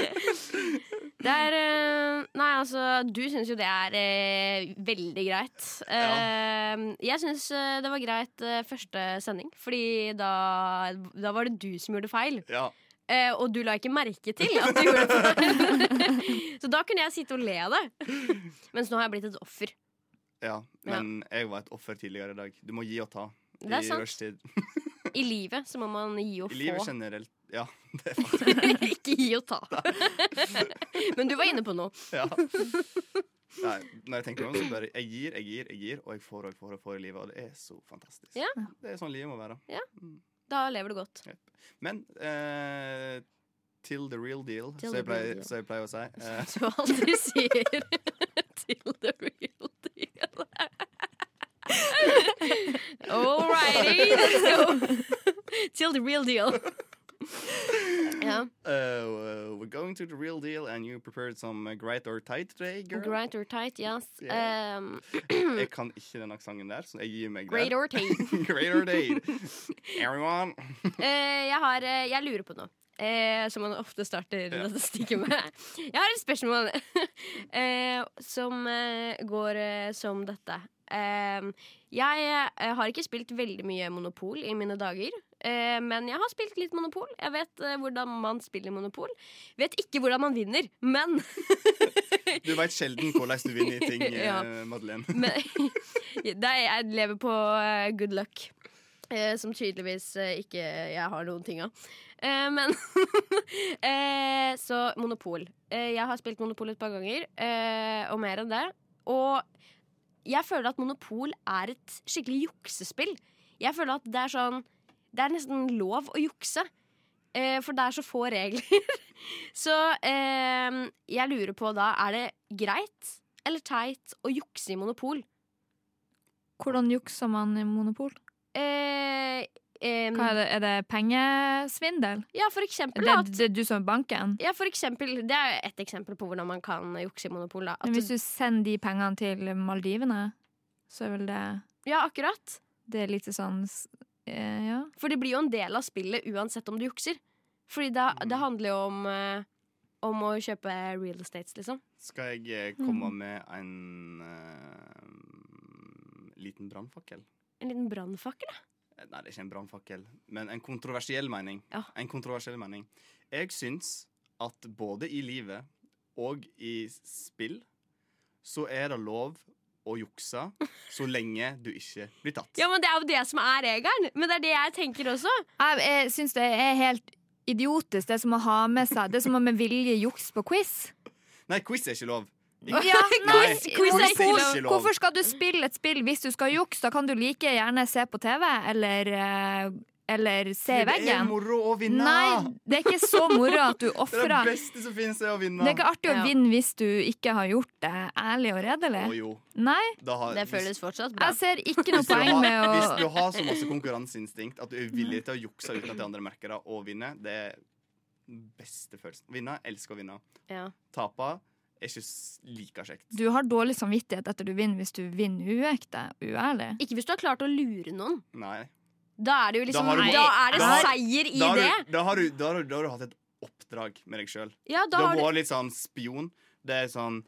Det er eh, Nei, altså, du syns jo det er eh, veldig greit. Eh, Jeg syns eh, det var greit eh, første sending, fordi da, da var det du som gjorde feil. Ja. Eh, og du la ikke merke til at du gjorde feil. Så da kunne jeg sitte og le av det. Mens nå har jeg blitt et offer. Ja, men jeg var et offer tidligere i dag. Du må gi og ta. Det er i sant. rushtid. I livet så må man gi og I livet få. generelt. Ja. ikke gi og ta. Men du var inne på noe. ja. Nei, når jeg tenker meg om, så bare jeg gir, jeg gir, jeg gir, og jeg får og jeg får og jeg får i livet. Og det er så fantastisk. Ja. Det er sånn livet må være. ja. Da lever du godt. Men eh, til the real deal, Til som the jeg, pleier- real deal. som jeg pleier å si. eh, Du aldri sier til the real deal. All righty, let's go. Till the real deal. Ja. eh, we're going to the real deal, and you prepared some eh, great or tight today, girl. Great or tight, yes. Yeah. Um, Jeg kan ikke den aksenten der, så jeg gir meg Great der. or tight. great or tight. Everyone. Eh, jeg, har, eh, jeg lurer på noe. eh, som man ofte starter Ja. dette stikket med. Jeg har et spørsmål eh, som eh, går eh, som dette. Eh, jeg eh, har ikke spilt veldig mye Monopol i mine dager. eh, men jeg har spilt litt Monopol. Jeg vet eh, hvordan man spiller Monopol. Vet ikke hvordan man vinner, men Du veit sjelden hvordan du vinner i ting, eh, Ja. Madeleine. Men det er, jeg lever på eh, good luck. eh, som tydeligvis eh, ikke jeg har noen ting av. Eh, men eh, Så Monopol. Eh, jeg har spilt Monopol et par ganger, eh, og mer enn det. Og jeg føler at Monopol er et skikkelig juksespill. Jeg føler at det er sånn Det er nesten lov å jukse. eh, for det er så få regler. så eh, jeg lurer på da Er det greit eller teit å jukse i Monopol? Hvordan jukser man i Monopol? Eh, em, Hva er, det? er det pengesvindel? Ja, for eksempel Det, at det er du som er banken? ja, for eksempel, Det er et eksempel på hvordan man kan jukse i Monopol. Da. At, Men hvis du sender de pengene til Maldivene, så er vel det ja, akkurat. Det er litt sånn s- eh, Ja. Mm. For det blir jo en del av spillet uansett om du jukser. Fordi det, det handler jo om, eh, om å kjøpe real estates, liksom. Skal jeg eh, komme Mm. med en eh, liten brannfakkel? En liten brannfakkel, da. Eh, Nei, det er ikke en brannfakkel, men en kontroversiell mening. En kontroversiell mening. Jeg syns at både i livet og i spill så er det lov å jukse så lenge du ikke blir tatt. Ja, men det er jo det som er regelen. Men det er det jeg tenker også. Jeg, jeg syns det er helt idiotisk, det som å ha med seg Det er som å med vilje jukse på quiz. Nei, quiz er ikke lov. Ja, Nei, quiz, quiz er ikke er lov. Hvorfor skal du spille et spill hvis du skal jukse? Da kan du like gjerne se på TV eller eh, eller se i Det er veggen. moro å vinne. Nei, det er ikke så moro at du Det er det ofrer. beste som finnes, er å vinne. Det er ikke artig å vinne hvis du ikke har gjort det ærlig og redelig. Å, jo. Nei. Da har- hvis- fortsatt Jeg ser ikke noe Hvis du, poeng har, med å hvis du har så masse konkurranseinstinkt at du er villig Mm. til å jukse uten at de andre merker det, og vinne, det er den beste følelsen. Vinne, elsker å vinne. Ja. Tape er ikke s- like kjekt. Du har dårlig samvittighet etter du vinner hvis du vinner uekte. Uærlig. Ikke hvis du har klart å lure noen. Nei. Da er det jo liksom Da har du- Da er det da har- seier i da har du- det. Da har, du, da, har du, da har du hatt et oppdrag med deg sjøl. Ja, du da har har du- vært litt sånn spion. Det er sånn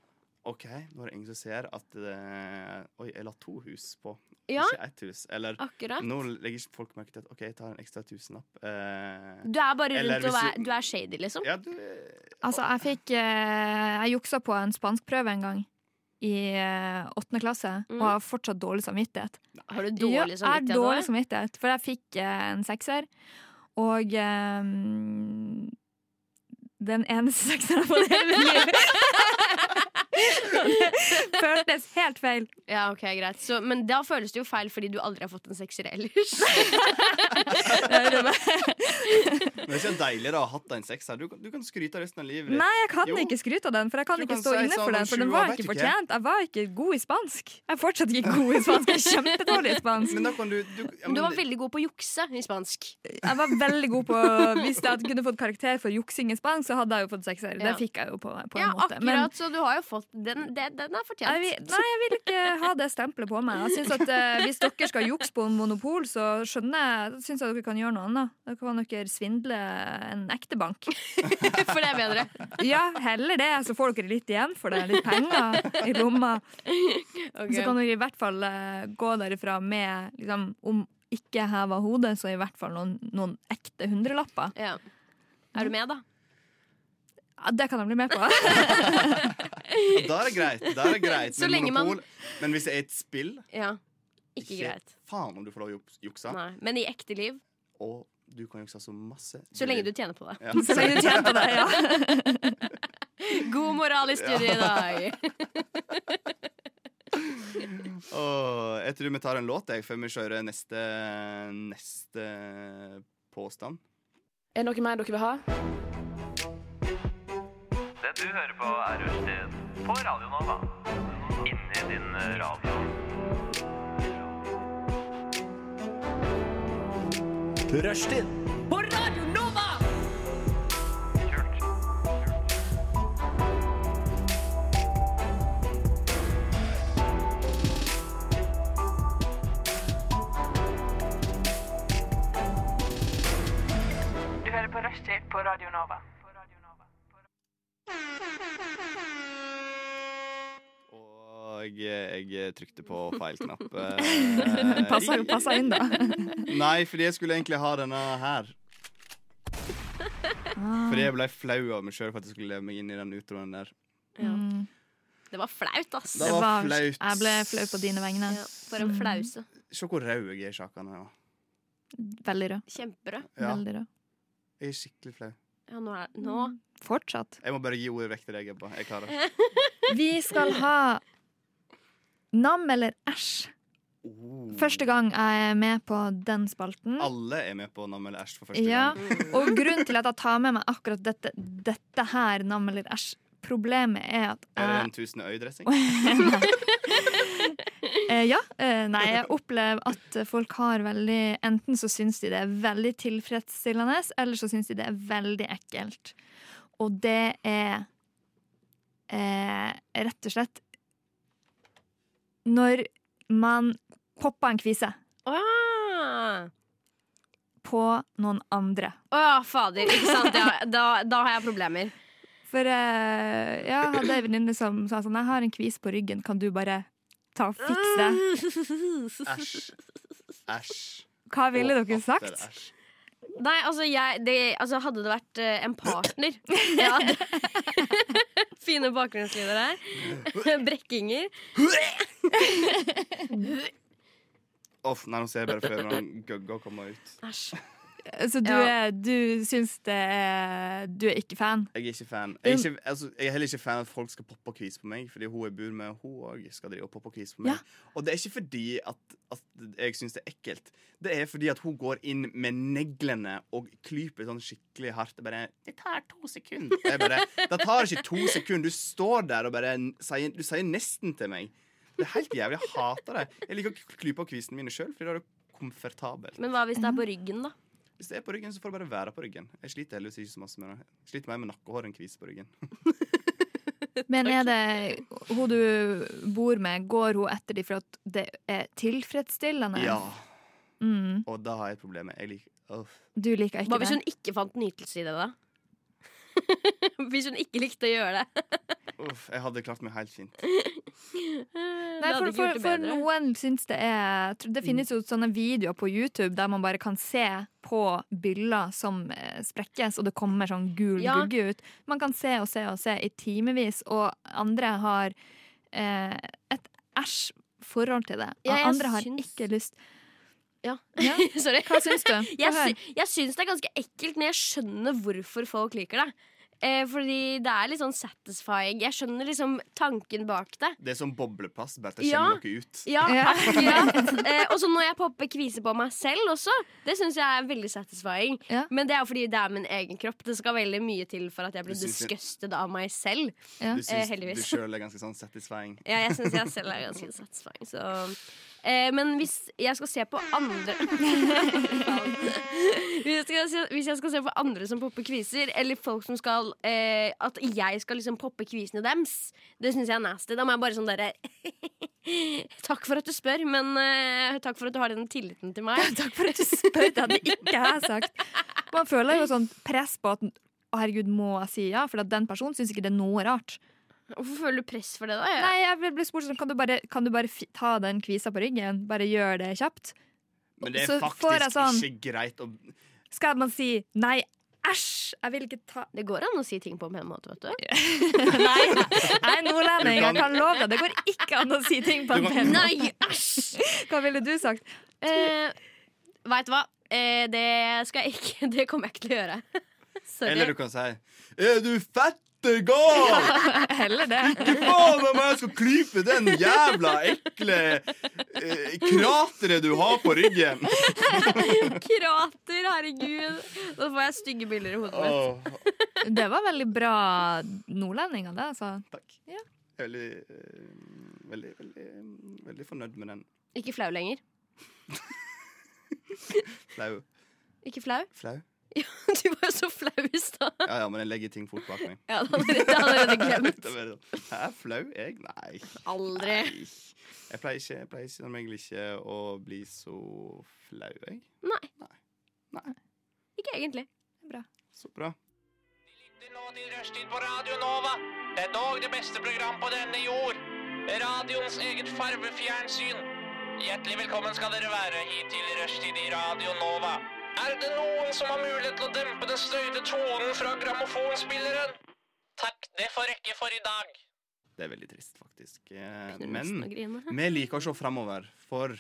OK, nå er det ingen som ser at eh, Oi, jeg la to hus på, Ja. ikke ett hus. Eller Akkurat. nå legger ikke folk merke til at OK, jeg tar en ekstra tusenlapp. eh, Du er bare eller rundt og hvis er, du er shady, liksom. Ja, du, Altså, jeg fikk eh, Jeg juksa på en spanskprøve en gang. I eh, åttende klasse. Mm. Og har fortsatt dårlig samvittighet. Har du dårlig Ja, samvittighet Jeg nå, ja? har dårlig samvittighet, for jeg fikk eh, en sekser. Og eh, den eneste sekseren jeg har fått i hele mitt liv. Føltes helt feil. Ja, ok, greit så, Men da føles det jo feil fordi du aldri har fått en sekser ellers. Men det er ikke deilig da, å ha hatt en sekser. Du, kan- du kan skryte resten av livet ditt. Nei, jeg kan Jo. ikke skryte av den, for jeg kan Du ikke kan stå si inne for sånn den. om For den sju år, var vet ikke ikke. fortjent. Jeg var ikke god i spansk. Jeg er fortsatt ikke god i spansk. Jeg er kjempedårlig i spansk. Men da kan du, du, ja, Men du men var det- veldig god på å jukse i spansk. Jeg var veldig god på Hvis jeg hadde kunne fått karakter for juksing i spansk, så hadde jeg jo fått sekser. Det Ja. fikk jeg jo på, på en Ja, måte. akkurat, så du har jo fått Den, det, den er fortjent. jeg vil, nei, jeg vil ikke ha det stempelet på meg. Jeg synes at eh, Hvis dere skal jukse på monopol, så skjønner jeg da synes jeg dere kan gjøre noe annet. Da kan dere svindle en ekte bank. For det er bedre. Ja, heller det, så får dere litt igjen for det. Litt penger i lomma. Ok. Så kan dere i hvert fall eh, gå derifra med liksom, Om ikke heva hodet, så i hvert fall noen, noen ekte hundrelapper. Er du med, da? Ja, det kan jeg bli med på. Da er det greit. Da er det greit Så med lenge man- monopol. Men hvis det er et spill, Ja. Ikke greit. faen om du får lov å juks- jukse. Nei. Men i ekte liv, Og du kan jukse så masse. så lenge du tjener på det. Ja. God moral i studiet i dag. Åh, jeg tror vi tar en låt jeg, før vi kjører neste, neste påstand. Er det noe mer dere vil ha? Det du hører på er Rushtid på Radio Nova. Inni din eh, radio. Rushtid. På Radio Nova! Du hører på Rushtid på Radio Nova. Og jeg, jeg trykte på Eh, feil knapp. Passer- passer inn, da. Nei, fordi jeg skulle egentlig ha denne her. Fordi jeg ble flau av meg sjøl for at jeg skulle leve meg inn i den utroen der. Mm. Det var flaut, ass. Det var Det var- flaut. Jeg ble flau på dine vegne. Ja, for en flause. Se hvor rød jeg er i sjakene. nå. Veldig rød. Kjemperød. Ja. Veldig rød. Jeg er skikkelig flau. Ja, nå er Nå. Fortsatt. Jeg må bare gi ordet vekk til deg, Ebba. Jeg Eh, klarer det. Vi skal ha nam eller æsj. Første gang jeg er med på den spalten. Oh. Alle er med på Nam eller æsj for første Ja, gang. og grunnen til at jeg tar med meg akkurat dette, dette her, nam eller æsj, problemet er at Er det jeg en tusen øy-dressing? Eh, ja. Eh, nei, jeg opplever at folk har veldig Enten så syns de det er veldig tilfredsstillende, eller så syns de det er veldig ekkelt. Og det er eh, rett og slett når man popper en kvise Ah. på noen andre. Å ja, fader. Ikke sant? Ja, da, da har jeg problemer. For eh, ja, jeg hadde ei venninne som sa sånn Jeg har en kvise på ryggen, kan du bare ta og fikse det? Æsj. Æsj. Hva ville Å, dere fatter, sagt? æsj. Nei, altså, jeg, det, altså hadde det vært eh, en partner ja, det- Fine bakgrunnslyder her. Brekkinger. Uff, nei, nå ser jeg bare for meg noen gøgger komme ut. Æsj. Så du, Ja. er, du syns det er Du er ikke fan? Jeg er ikke fan. Jeg er, ikke, altså, jeg er heller ikke fan at folk skal poppe og kvise på meg, fordi hun jeg bor med, hun òg skal drive og poppe og kvise på meg. Og det er ikke fordi at, at jeg syns det er ekkelt. Det er fordi at hun går inn med neglene og klyper sånn skikkelig hardt. Og bare Det tar to sekunder. jeg bare, Det tar ikke to sekunder. Du står der og bare n- sier, Du sier nesten til meg. Det er helt jævlig. Jeg hater det. Jeg liker å klype av kvisene mine sjøl, fordi da er det komfortabelt. Men hva hvis det er på ryggen, da? Hvis det er på ryggen, så får det bare være på ryggen. Jeg sliter heldigvis ikke så masse med det. Jeg sliter mer med nakkehår enn kvise på ryggen. Men er det hun du bor med, går hun etter dem for at det er tilfredsstillende? Ja. Mm. Og da har jeg problemer. Jeg liker Uff. Du liker ikke Hva hvis det? hun ikke fant nytelse i det, da? hvis hun ikke likte å gjøre det. Uff, jeg hadde klart meg helt fint. Nei, for, for, for noen syns det er tr- Mm. Det finnes jo sånne videoer på YouTube der man bare kan se på byller som eh, sprekkes, og det kommer sånn gul Ja. gugge ut. Man kan se og se og se i timevis, og andre har eh, et æsj forhold til det. Og Ja, jeg andre har syns- ikke lyst. Ja. Ja. Sorry. Hva syns du? Få Jeg, høre. sy jeg syns det er ganske ekkelt, men jeg skjønner hvorfor folk liker det. Eh, fordi det er litt sånn satisfying. Jeg skjønner liksom tanken bak det. Det er som bobleplast, bare at det Ja. kommer noe ut. Ja, akkurat. Eh, og så når jeg popper kvise på meg selv også, det syns jeg er veldig satisfying. Men det er jo fordi det er min egen kropp. Det skal veldig mye til for at jeg blir Du syns- disgusted av meg selv. Du Eh, syns du heldigvis. sjøl er ganske sånn satisfying. Ja, jeg syns jeg selv er ganske satisfying, så eh, Men hvis jeg skal se på andre hvis, jeg skal se, hvis jeg skal se på andre som popper kviser, eller folk som skal eh, At jeg skal liksom poppe kvisene dems, det syns jeg er nasty. Da må jeg bare sånn derre Takk for at du spør, men eh, takk for at du har den tilliten til meg. takk for at du spør, det hadde ikke jeg sagt. Man føler jo sånn press på at å herregud, må jeg si ja? For at den personen syns ikke det er noe rart. Hvorfor føler du press for det, da? Nei, jeg ble- ble spurt sånn, kan du bare, kan du bare fi- ta den kvisa på ryggen? Bare gjør det kjapt? Men det er Så får jeg faktisk sånn- ikke greit å Skal man si nei, æsj, jeg vil ikke ta Det går an å si ting på en pen måte, vet du. Jeg er nordlending, jeg Du kan- kan love deg. Det går ikke an å si ting på en Du pen kan- måte. Hva ville du sagt? Eh, Veit du hva? Eh, det skal jeg ikke Det kommer jeg ikke til å gjøre. Sorry. Eller du kan si Er du fette gal? Heller det. Ikke faen om jeg skal klype den jævla ekle eh, krateret du har på ryggen. Krater, herregud. Da får jeg stygge bilder i hodet mitt. Åh, Det var veldig bra nordlendinger, det, altså. Takk. jeg er veldig, eh, veldig, veldig, veldig fornøyd med den. Ikke flau lenger. Flau. Ikke flau? Flau? Du var jo så flau i stad. Ja, ja, men jeg legger ting fort bak meg. Ja, det hadde jeg allerede glemt. Det var sånn, Hæ, flau? Jeg? Nei. Aldri. Jeg pleier ikke, jeg pleier ikke som regel ikke å bli så flau, jeg. Nei. Ikke egentlig. Bra. Så bra. Rushtid på Radio Nova. Det er dog det beste program på denne jord. Radioens eget farvefjernsyn. Hjertelig velkommen skal dere være hit til Rushtid i Radio Nova. Er det noen som har mulighet til å dempe den støyte tonen fra grammofonspilleren? Takk, det får rekke for i dag. Det er veldig trist, faktisk. Eh, Begynner Men nesten å grine. vi liker å se framover, for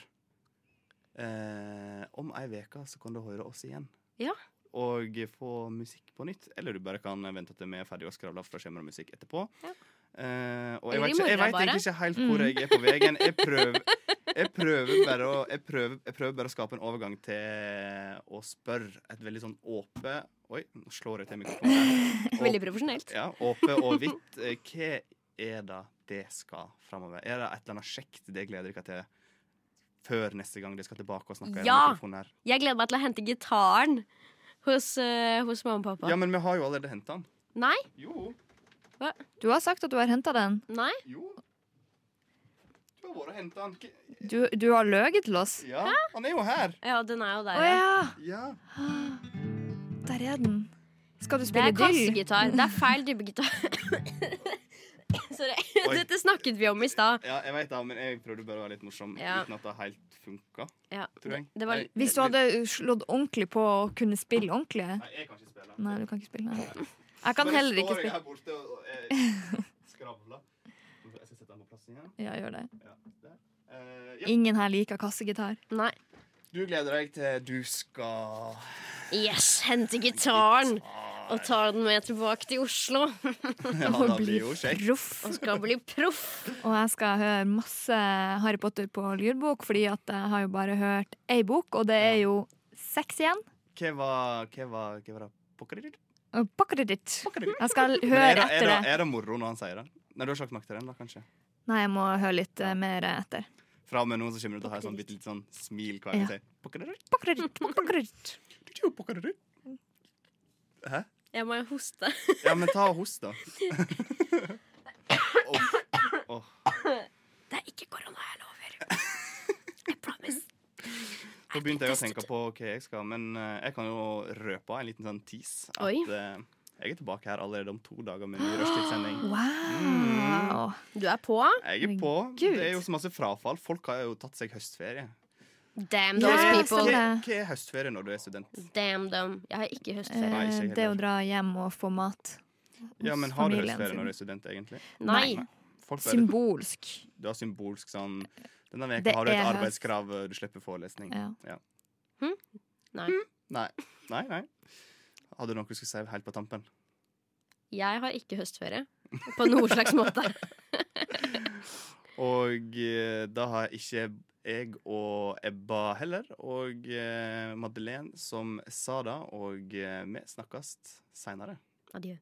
eh, om ei uke så kan du høre oss igjen. Ja. Og få musikk på nytt. Eller du bare kan vente til vi er ferdige og skravler, for da kommer det musikk etterpå. Eh, og jeg Eller vet, i ikke, jeg morgen vet egentlig bare. ikke helt hvor Mm. jeg er på veien. Jeg prøver, jeg prøver, bare, å, jeg prøver, jeg prøver bare å skape en overgang til å spørre et veldig sånn åpe Oi, nå slår jeg til mikrofonen. her. Veldig profesjonelt. Ja, åpe og hvitt. Eh, Hva er det det skal framover? Er det et eller annet kjekt det gleder dere til før neste gang dere skal tilbake og snakke i Ja! mikrofonen her? Jeg gleder meg til å hente gitaren hos, eh, hos mamma og pappa. Ja, men vi har jo allerede henta den. Nei? Jo. Hva? Du har sagt at du har henta den. Nei? Jo. Du har vært og henta den. Hva- Du, du har løyet til oss. Ja, han er jo her. Ja, den er jo der. Å ja! Ja. Ah, Der er den. Skal du Det spille er dyll? kassegitar. Det er feil type gitar. Sorry. Oi. Dette snakket vi om i stad. Ja, jeg vet det, men jeg prøvde bare å være litt morsom Ja. uten at det helt funka. Ja. Tror jeg. Det var Nei. Hvis du hadde slått ordentlig på å kunne spille ordentlig? Nei, jeg kan ikke spille. Nei, du kan ikke spille. Nei. Jeg kan heller ikke Bare står jeg spille. her borte og, og jeg skravler. Jeg skal sette den på plass igjen. Ja, gjør det. der. Eh, ja. Ingen her liker kassegitar. Nei. Du gleder deg til du skal Yes, hente gitaren og ta den med tilbake til Oslo. Ja, da blir jo kjekt. Og skal bli proff. Og jeg skal høre masse Harry Potter på lydbok, fordi at jeg har jo bare hørt ei bok, og det er jo seks igjen. Hva var, hva var, hva var det? Pokkeriditt? Og Pakker det ditt. Jeg Men skal er det- høre er etter det. det. Er det moro når han sier det? Nei, du har ikke lagt merke til den, da, kanskje? Nei, jeg må høre litt eh, mer etter. Fra og med nå så kommer du til å ha et sånn bitte litt sånn smil hver gang Ja. jeg sier pokkeriditt. Pakker det ditt, pakker det ditt. Hæ? Jeg må hoste. Ja, men ta og host, da. Åh. Det er ikke korona, jeg lover. Da begynte jeg å tenke på hva jeg skal, men eh, jeg kan jo røpe en liten sånn tease. At Oi. eh, jeg er tilbake her allerede om to dager med ny rushtidssending. Mm. Wow. Du er på? Jeg er på. Det er jo så masse frafall. Folk har jo tatt seg høstferie. Damn Hva those sånn er- people. Hva hva er høstferie når du er student? Damn them. Jeg har ikke høstferie. Nei, ikke jeg Eh, Det å heller. dra hjem og få mat. Ja, hos men har du familien høstferie sin. når du er student, egentlig? Nei. Folk bare- Symbolsk. Du har symbolsk sånn Denne veka Det har du et er høst. arbeidskrav, du slipper forelesning. Ja. Ja. Nei. Nei. Nei, nei. Hadde du noe du skulle si helt på tampen? Jeg har ikke høstferie. På noen slags måte. Og eh, da har ikke jeg og Ebba heller, og eh, Madeleine som sa det, og eh, vi snakkes seinere. Adjø.